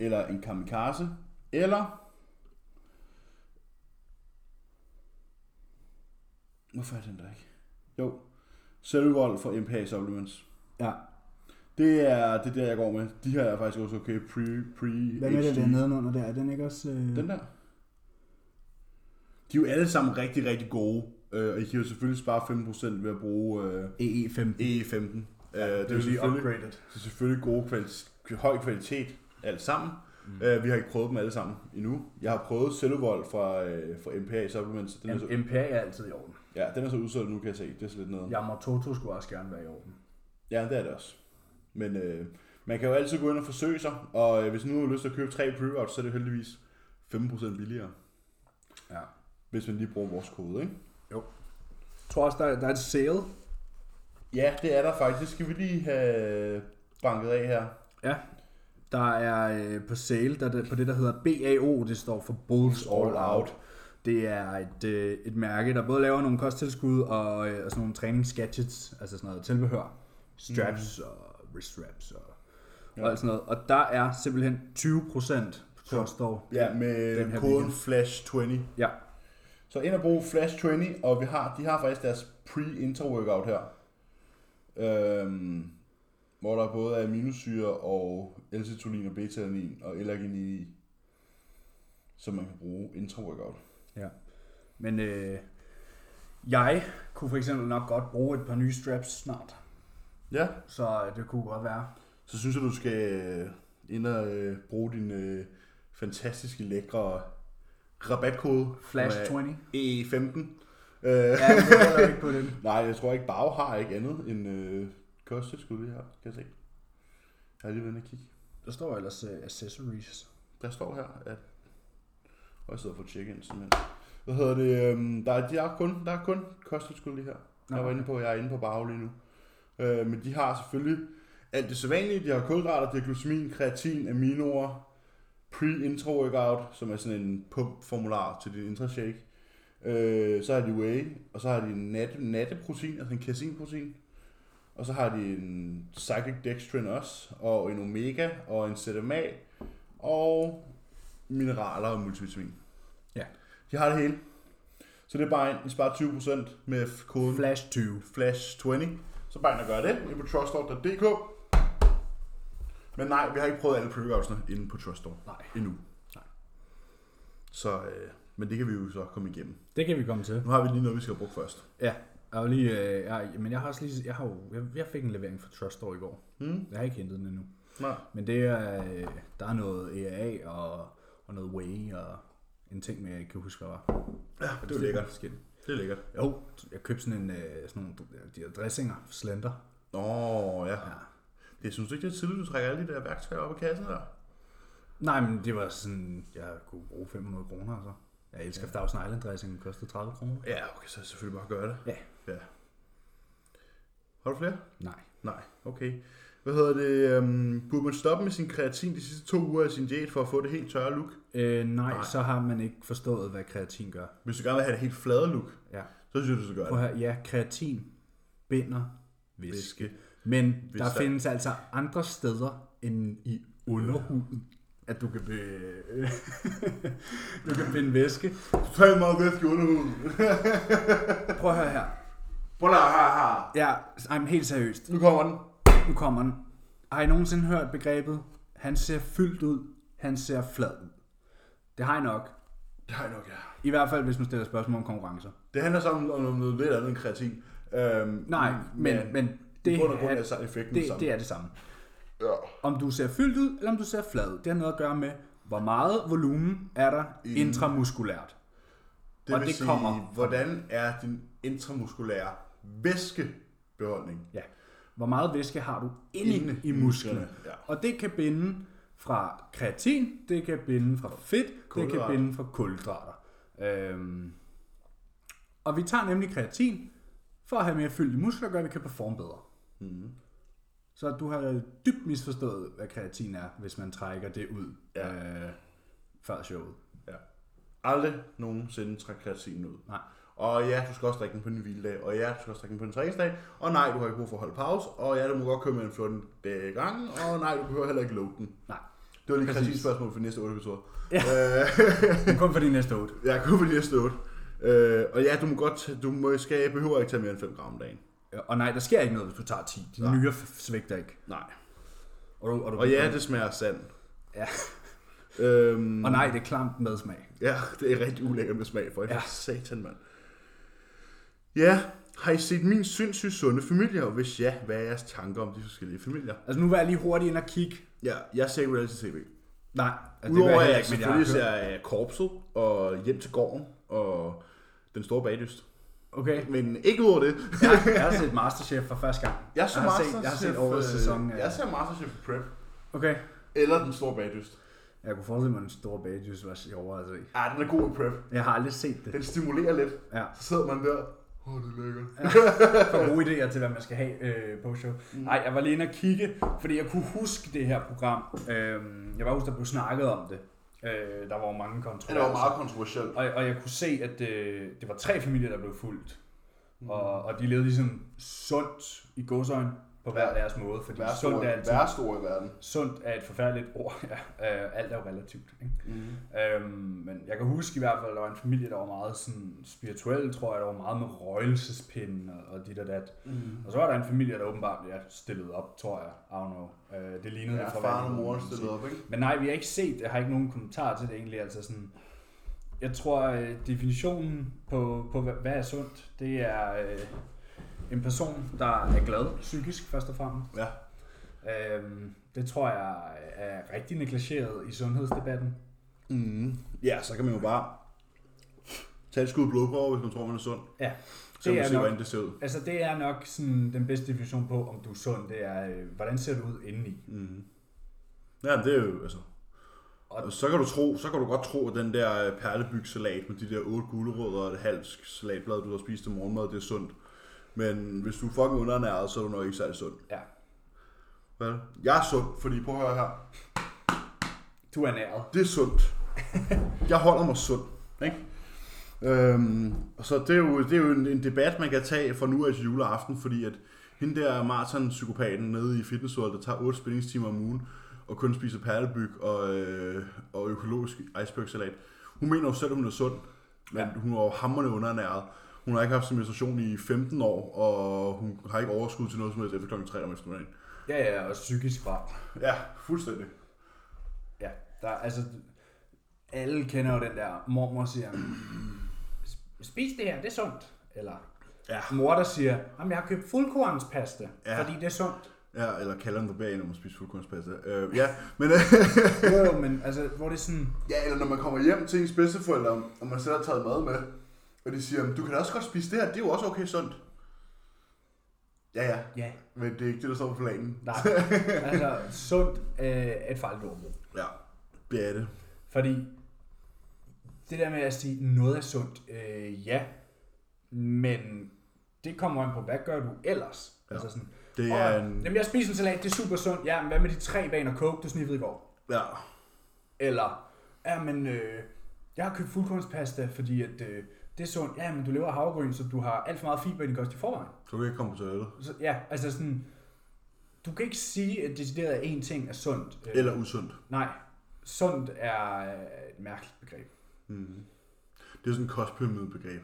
eller en Kamikaze, eller... Hvorfor er den der ikke? Jo, Selvvold fra MPA Supplements. Ja. Det er det er der, jeg går med. De her er faktisk også okay. Pre, pre Hvad med det der nedenunder der? Er den ikke også... Øh... Den der. De er jo alle sammen rigtig, rigtig gode. Øh, og I kan jo selvfølgelig spare 5% ved at bruge øh, EE5. E15. Øh, det, er jo selvfølgelig, upgraded. det er selvfølgelig gode kvali- høj kvalitet alt sammen. Mm. Mm. Øh, vi har ikke prøvet dem alle sammen endnu. Jeg har prøvet Celluvold fra, øh, fra MPA Supplements. Den er, så, MPA er altid i orden. ja, den er så udsolgt nu, kan jeg se. Det er så lidt noget. Yamamoto skulle også gerne være i orden. Ja, det er det også. Men øh, man kan jo altid gå ind og forsøge sig, og øh, hvis nu har lyst til at købe tre pre-rolls, så er det heldigvis 15% billigere, Ja. hvis man lige bruger vores kode, ikke? Jeg tror også, der, der er et sale. Ja, det er der faktisk. Det skal vi lige have banket af her. Der er øh, på sale, der, der, på det, der hedder BAO, det står for Bulls All Out. Det er et, øh, et mærke, der både laver nogle kosttilskud og, øh, og sådan nogle træningsgadgets, altså sådan noget tilbehør. Straps mm. og wrist wraps og, ja. Ja. og alt sådan noget. Og der er simpelthen 20% på Trustov. Ja, med Den her koden weekend. FLASH20. ja. Så ind og brug FLASH20, og vi har, de har faktisk deres pre-inter-workout her. Øhm, hvor der både er aminosyre og L-citolin og beta-alanin og L-arginin i, som man kan bruge intra-workout. ja. Men øh, jeg kunne for eksempel nok godt bruge et par nye straps snart. Ja, Så øh, det kunne godt være. så synes jeg, du skal øh, ind og øh, bruge din øh, fantastiske, lækre rabatkode. Flash 20. E15. Øh, Ja, men øh, det er ikke på den. nej, jeg tror ikke, Bag har ikke andet end øh, kosttilskud, det her, kan jeg se. Jeg har lige været inde og kigge. Der står ellers uh, accessories. Der står her, at... Og jeg sidder for check in simpelthen. Hvad hedder det? Øhm, der, er, de er kun, der er kun kosttilskud lige her. Nå, jeg var okay. inde på, jeg er inde på Bau lige nu. Øh, men de har selvfølgelig alt det sædvanlige. De har kulhydrater, de har glycemin, kreatin, aminoer, pre-intro workout, som er sådan en pump-formular til din intra-shake. Øh, så har de whey, og så har de en nat- natteprotein, altså en casinprotein. Og så har de en cyclic dextrin også, og en omega, og en ZMA, og mineraler og multivitamin. Ja. De har det hele. Så det er bare en, I sparer 20% med f- koden Flash 20. Flash 20. Så bare ind og gør det inde på truststore.dk. Men nej, vi har ikke prøvet alle pre inde på Truststore Nej. endnu. Nej. Så, øh, men det kan vi jo så komme igennem. Det kan vi komme til. Nu har vi lige noget, vi skal bruge først. Ja, jeg har lige, øh, jeg, men jeg har også lige, jeg har jo, jeg, jeg fik en levering fra Truststore i går. Hmm? Jeg har ikke hentet den endnu. Nej. Men det er, øh, der er noget EAA og og noget whey og en ting med, jeg ikke kan huske, hvad var. Ja, det er lækkert. Det er lækkert. Jo, jeg købte sådan en, øh, sådan nogle, de her dressinger, slender. Nå, ja. ja. Det synes du ikke, det er tidligt, du trækker alle de der værktøjer op i kassen der? Nej, men det var sådan, jeg kunne bruge 500 kroner og så. Jeg elsker ja. Thousand Island dressing, kostede 30 kroner. Ja, okay, så selvfølgelig bare gøre det. Ja. Ja. Har du flere? Nej. Nej, okay. Hvad hedder det? Øhm, burde man stoppe med sin kreatin de sidste to uger af sin diæt for at få det helt tørre look? Øh, nej, nej, så har man ikke forstået, hvad kreatin gør. Hvis du gerne vil have det helt flade look, Ja. så synes jeg, du skal gøre Prøv det. at høre, ja, kreatin binder væske. Væske. Men Hvis der der- findes altså andre steder end i underhuden, at du kan, be... du kan binde væske. Tag mig væske i underhuden. Prøv at høre her. Prøv da, ha, ha. Ja, I'm helt seriøst. Nu kommer den. Nu kommer den. Har I nogensinde hørt begrebet, han ser fyldt ud, han ser flad ud? Det har I nok. Det har jeg nok, ja. I hvert fald, hvis man stiller spørgsmål om konkurrencer. Det handler sammen om noget lidt andet end kreatin. Øhm, Nej, men, men det, i det, bund og grund er er, så effekten det, sammen. det er det samme. Ja. Om du ser fyldt ud, eller om du ser flad ud, det har noget at gøre med, hvor meget volumen er der intramuskulært. Det Og vil det sige, kommer- hvordan er din intramuskulære væskebeholdning? Ja. Hvor meget væske har du inde, Inde i i musklen? musklerne, ja. Og det kan binde fra kreatin, det kan binde fra fedt, det kan Kulhydrater. binde fra kulhydrater. Øhm. Og vi tager nemlig kreatin for at have mere fyldte muskler, gør, at vi kan performe bedre. Mm. Mhm. Så du har dybt misforstået, hvad kreatin er, hvis man trækker det ud ja. øh, før showet. Ja. Aldrig nogensinde træk kreatinen ud. Nej. Og ja, du skal også drikke den på en hviledag. Og ja, du skal også drikke den på en træningsdag. Og nej, du har ikke brug for at holde pause. Og ja, du må godt køre med en 14 dage i gangen. Og nej, du behøver heller ikke load den. Nej. Det var lige et Præcis. præcis spørgsmål for næste 8 episode. Ja. Øh, Men kun for de næste 8. jeg kunne lige have stået. Øh, og ja, du må godt, tage- du må, skal, behøver ikke tage mere end 5 gram om dagen. Og nej, der sker ikke noget, hvis du tager 10. De nyre f- svigter ikke. Nej. Og, du, og, du Og ja, det smager af sand. ja. Øhm, Og nej, det er klamt medsmag. Ja, det er rigtig ulækkert med smag for. Ja. Ja. Satan, mand. Ja, har I set min sindssygt sunde familie? Og hvis ja, hvad er jeres tanker om de forskellige familier? Altså nu var jeg lige hurtigt ind og kigge. Ja, jeg ser ikke reality tv. Nej, altså, Udover gør at heller jeg men jeg har selvfølgelig hørt- ser øh, korpset og hjem til gården og den store bagdyst. Okay, Men ikke udover det. jeg, jeg har set Masterchef for første gang. Jeg, så jeg har set, jeg har set årets sæson. af- øh, Jeg ser Masterchef på Prep. Okay. Eller den store bagdyst. Jeg kunne forestille mig, at den store bagdys var sjovere at se. Ja, Ah, den er god i Prep. Jeg har aldrig set det. Den stimulerer lidt. Ja. Så sidder man der. Åh, oh, det er lækkert. For gode idéer til, hvad man skal have øh, på show. Mm. Nej, jeg var lige inde og kigge, fordi jeg kunne huske det her program. Øhm, jeg var huske, der blev snakket om det. Øh, der var jo mange Ja, kontroverser. det var meget kontroversielt. Og, og jeg kunne se, at øh, det var tre familier, der blev fulgt. Mm. Og, og de levede ligesom sundt i godsøjen på hver Ja. deres måde, fordi Hver sundt er, altid, stor, stor i verden. sundt er et forfærdeligt ord. Ja. Øh, alt er jo relativt. Ikke? Mm. Øhm, men jeg kan huske i hvert fald, at der var en familie, der var meget sådan, spirituel, tror jeg, der var meget med røgelsespinde og, og dit og dat. Mm. Og så var der en familie, der åbenbart ja, stillede op, tror jeg. I don't know. Øh, det lignede Ja, det fra faren og verden, moren kan man sige. stillede op, ikke? Men nej, vi har ikke set, jeg har ikke nogen kommentar til det egentlig, altså sådan, jeg tror øh, definitionen på, på, hvad- hvad er sundt, det er øh, en person, der er glad psykisk først og fremmest. Ja. Øhm, det tror jeg øh, er rigtig negligeret i sundhedsdebatten. Mm. Ja, så kan man jo bare tage et skud blodprøver, hvis man tror, man er sund. Ja, Så det man er se, nok, hvordan det ser ud. altså det er nok sådan den bedste definition på, om du er sund, det er, øh, hvordan ser du ud indeni. Mm-hmm. Ja, men det er jo, altså... Og- Og så kan du tro, så kan du godt tro, at den der øh, perlebygsalat med de der otte gulerødder og et halvt salatblad, du har spist til morgenmad, det er sundt. Men hvis du er fucking underernæret, så er du nok ikke særlig sund. Ja, Vel? Jeg er sund, fordi prøv at høre her. du er næret. Det er sundt. Jeg holder mig sund. Ikke? Øhm, og så det er jo, det er jo en, en debat, man kan tage fra nu af til juleaften, fordi at hende der maraton-psykopaten nede i fitnessholdet, der tager 8 spændingstimer om ugen, og kun spiser perlebyg og, øh, og økologisk icebergsalat. Hun mener jo selv, at hun er sund, men ja. hun er jo hammerende underernæret. Hun har ikke haft sin menstruation i 15 år, og hun har ikke overskud til noget som helst efter kl. 3 om eftermiddagen. Ja, ja, og psykisk fra. Ja, fuldstændig. Ja, der, er- altså, alle kender jo den der, mormor siger, "Sp- spis det her, det er sundt. Eller Ja. mor, der siger, jamen jeg har købt fuldkornspasta, ja. Ja. fordi det er sundt. Ja, eller kalder den på bagen, når man spiser fuldkornspasta. Øh, ja, men... Jo, jo, men altså, hvor det er sådan... ja, eller når man kommer hjem til ens bedsteforældre, og man selv har taget mad med, og de siger, du kan da også godt spise det her, det er jo også okay sundt. Ja, ja, Ja, men det er ikke det, der står på planen. nej. altså, sundt øh, er et farligt ord. at bruge. Ja, det er det. Fordi det der med at sige, noget er sundt, øh, ja, men det kommer an på, hvad gør du ellers? Ja. Altså sådan, Det "Åh, er en... Jamen, jeg spiser en salat, det er super sundt. Ja, men hvad med de tre baner coke, du sniffede i går? Ja, Eller, ja, men øh, jeg har købt fuldkornspasta, fordi at, øh, det er sundt. Ja, men du lever af havregryn, så du har alt for meget fiber i din kost i forvejen. så kan jeg ikke komme på toilettet. Så, ja, altså sådan, du kan ikke sige, at decideret af én ting er sundt. Øh, Eller usundt. Nej, sundt er øh, et mærkeligt begreb. Mm. Det er sådan et kostpyramidebegreb.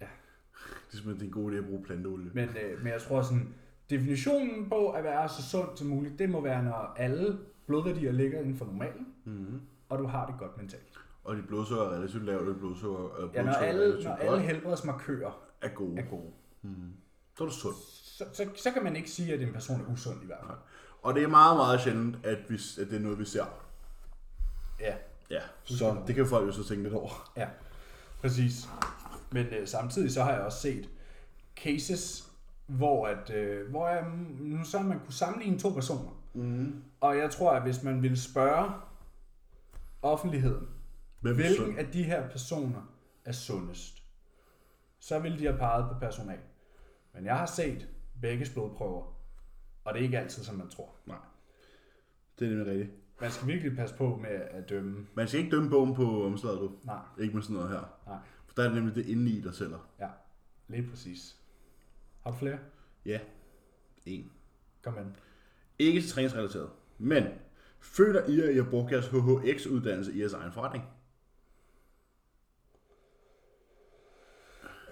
Ja. Det er simpelthen det er en god idé at bruge planteolie. Men, øh, men jeg tror sådan, definitionen på at være så sund som muligt, det må være, når alle blodværdier ligger inden for normalen, Mm-hmm. og du har det godt mentalt. Og dit blodsukker er relativt lavt, og dit blodsukker, øh, Ja, når blodsukker er alle, relativt når godt, alle helbredsmarkører er gode. Mm. er gode, Så er du sund. så, så, så kan man ikke sige, at en person er usund i hvert fald. Og det er meget, meget sjældent, at, vi, at det er noget, vi ser. Ja, Ja, så det kan folk jo så tænke lidt over. ja, præcis. Men øh, samtidig så har jeg også set cases, hvor, at, øh, hvor jeg, nu så man kunne sammenligne to personer. Mm. Og jeg tror, at hvis man ville spørge offentligheden, Hvem er Hvilken sund? af de her personer er sundest? Så ville de have peget på person A. Men jeg har set begge blodprøver, og det er ikke altid, som man tror. Nej. Det er nemlig rigtigt. Man skal virkelig passe på med at dømme. Man skal ikke dømme bogen på omslaget, du. Nej, Ikke med sådan noget her. nej, For der er det nemlig det inde i, der sælger. ja, lige præcis. Har du flere? Ja. En. Kom ind. Ikke til træningsrelateret. Men føler I, at I har brugt jeres HHX-uddannelse i jeres egen forretning?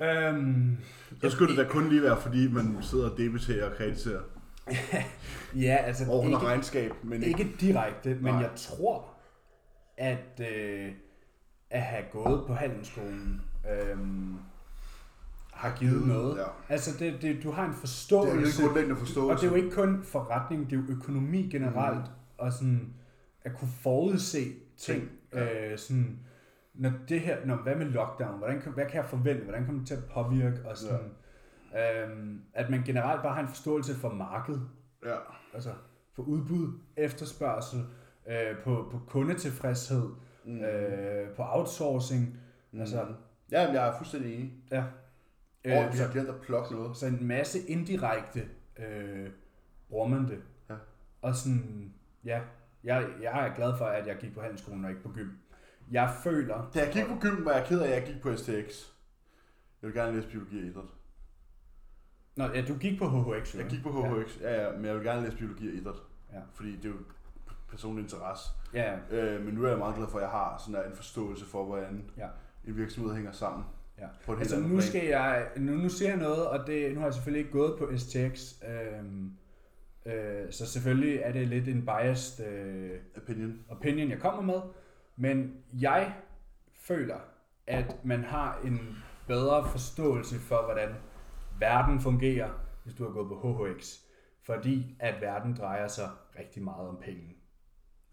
Øhm, Så skulle det da kun lige være, fordi man sidder og debiterer og krediterer. ja, altså Og under ikke, regnskab, men ikke. ikke direkte, men Nej. jeg tror, at øh, at have gået på handelsskolen øhm, har givet noget. Ja. Altså, det, det, du har en Det er jo forståelse lidt grundlæggende Og det forståelse. er jo ikke kun forretning, det er jo økonomi generelt, mm. og sådan at kunne forudse ting. Ja. Øh, sådan, når det her, når, hvad med lockdown, hvordan kan, hvad kan jeg forvente, hvordan kommer det til at påvirke, og sådan, ja. øhm, at man generelt bare har en forståelse for markedet, Ja. altså for udbud, efterspørgsel, øh, på, på kundetilfredshed, mm. øh, på outsourcing, mm. altså, Ja, men jeg er fuldstændig enig. ja. Øh, og Øh, vi så, har glemt at plukke noget. så en masse indirekte øh, bruger man det. Ja. Og sådan, ja, jeg, jeg er glad for, at jeg gik på handelsskolen og ikke på gym. Jeg føler, Da jeg gik på gym, var jeg ked af, at jeg gik på STX. Jeg vil gerne læse biologi og idræt. Nå, ja, du gik på HHX, jo, Jeg ikke? gik på HHX, ja. ja, men jeg vil gerne læse biologi og idræt. Ja. Fordi det er jo personlig interesse. Ja, ja, Øh, men nu er jeg meget glad for, at jeg har sådan der en forståelse for, hvordan Ja. en virksomhed hænger sammen. ja. På et helt Altså, andet nu plan. skal jeg, nu, nu ser jeg noget, og det, nu har jeg selvfølgelig ikke gået på STX, øhm, øh, så selvfølgelig er det lidt en biased øh, Opinion. opinion, jeg kommer med, men jeg føler, at man har en bedre forståelse for, hvordan verden fungerer, hvis du har gået på HHX. Fordi at verden drejer sig rigtig meget om penge.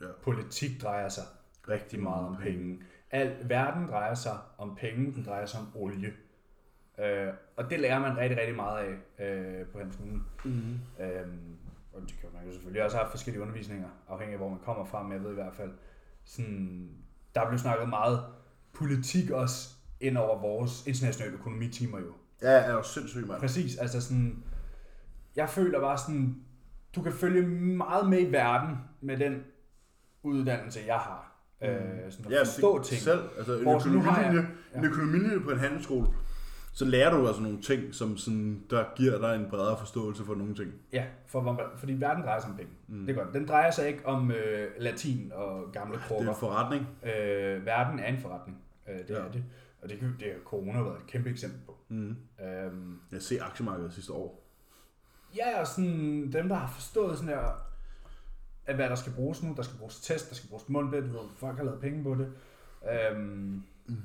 Ja. Politik drejer sig rigtig meget om penge. Al, verden drejer sig om penge, den drejer sig om olie. Øh, og det lærer man rigtig, rigtig meget af øh, på handelsskolen. Mm-hmm. Øhm, og det kan man jo selvfølgelig også have forskellige undervisninger, afhængig af hvor man kommer fra, men jeg ved i hvert fald, sådan, der blev snakket meget politik også ind over vores internationale økonomitimer jo. Ja, jeg er jo sindssygt, mand. Præcis, altså sådan, jeg føler bare sådan, du kan følge meget med i verden med den uddannelse, jeg har. Øh, sådan at Mm. Ja, forstå det, ting. Selv, altså en Hvor sådan, nu har jeg- økonomilinje, en økonomilinje på en handelsskole, så lærer du altså nogle ting, som sådan, der giver dig en bredere forståelse for nogle ting. Ja, for, hvor- fordi verden drejer sig om penge. Mm. Det er godt. Den drejer sig ikke om øh, latin og gamle Det er krukker. en forretning. Øh, verden er en forretning. Øh, det ja. Ja. er det. Og det, kan- det har corona været et kæmpe eksempel på. Mm. Øhm, Jeg ser aktiemarkedet sidste år. ja, og sådan dem, der har forstået sådan her, at hvad der skal bruges nu, der skal bruges test, der skal bruges mundbind, du ved, folk har lavet penge på det. Øhm, mm. Der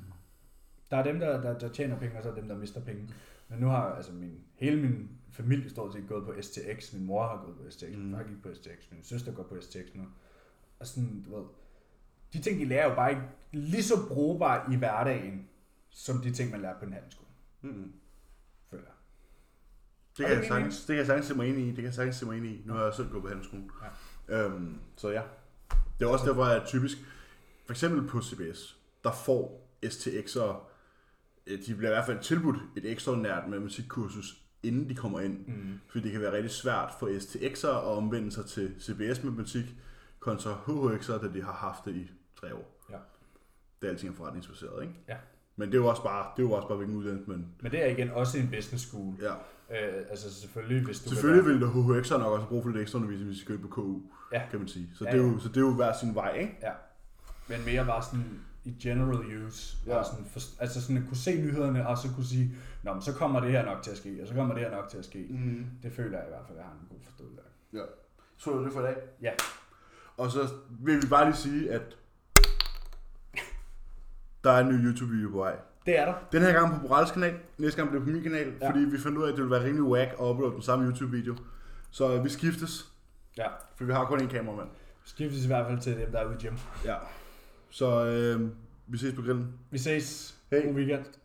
Der er dem, der, der, der tjener penge, og så er dem, der mister penge. Men nu har altså min, hele min familie stort set gået på STX. Min mor har gået på STX, min Mm. far gik på STX, min søster går på STX nu. Og sådan, du ved, de ting, de lærer er jo bare ikke lige så brugbare i hverdagen, som de ting, man lærer på en handelsskole, Mm-hmm. føler jeg. Det Er kan, du jeg enig? sagtens, det kan jeg sagtens se mig ind i. Det kan jeg sagtens se mig ind i. Nu har jeg selv gået på handelsskolen. Ja. Øhm, så ja. Det er også derfor, jeg er typisk... For eksempel på CBS, der får STX'er... øh, De bliver i hvert fald tilbudt et ekstraordinært matematikkursus, inden de kommer ind. Mm. Fordi det kan være rigtig svært for STX'er at omvende sig til CBS-matematik kontra HHX'er, da de har haft det i tre år. Ja. Det er alting er forretningsbaseret, ikke? Ja. Men det er jo også bare, det er jo også bare hvilken uddannelse, men Men det er igen også en business school. ja. Øh, altså selvfølgelig, hvis du vil Selvfølgelig ville HHX'er nok også have brug for lidt ekstra undervisning, hvis de skulle ind på KU, Ja. kan man sige. Så, Ja, ja, det er ja. jo, så det er jo hver sin vej, ikke? Ja. Men mere bare sådan i general use. Ja. Ja. Sådan for, altså sådan at kunne se nyhederne, og så kunne sige, Nå, men så kommer det her nok til at ske, og så kommer det her nok til at ske. Mm. Det føler jeg i hvert fald, at jeg har en god forståelse af. Ja. Så er det for i dag. Ja. Og så vil vi bare lige sige, at der er en ny YouTube-video på vej. Det er der. Den her gang på Borals kanal, næste gang bliver det på min kanal, Ja. ja. fordi vi fandt ud af, at det ville være rimelig whack at uploade den samme YouTube-video. Så øh, vi skiftes, Ja. for vi har kun én kameramand. Skiftes i hvert fald til dem, der er ude i gym. Ja. Så øh, vi ses på grillen. Vi ses. Hej. God weekend.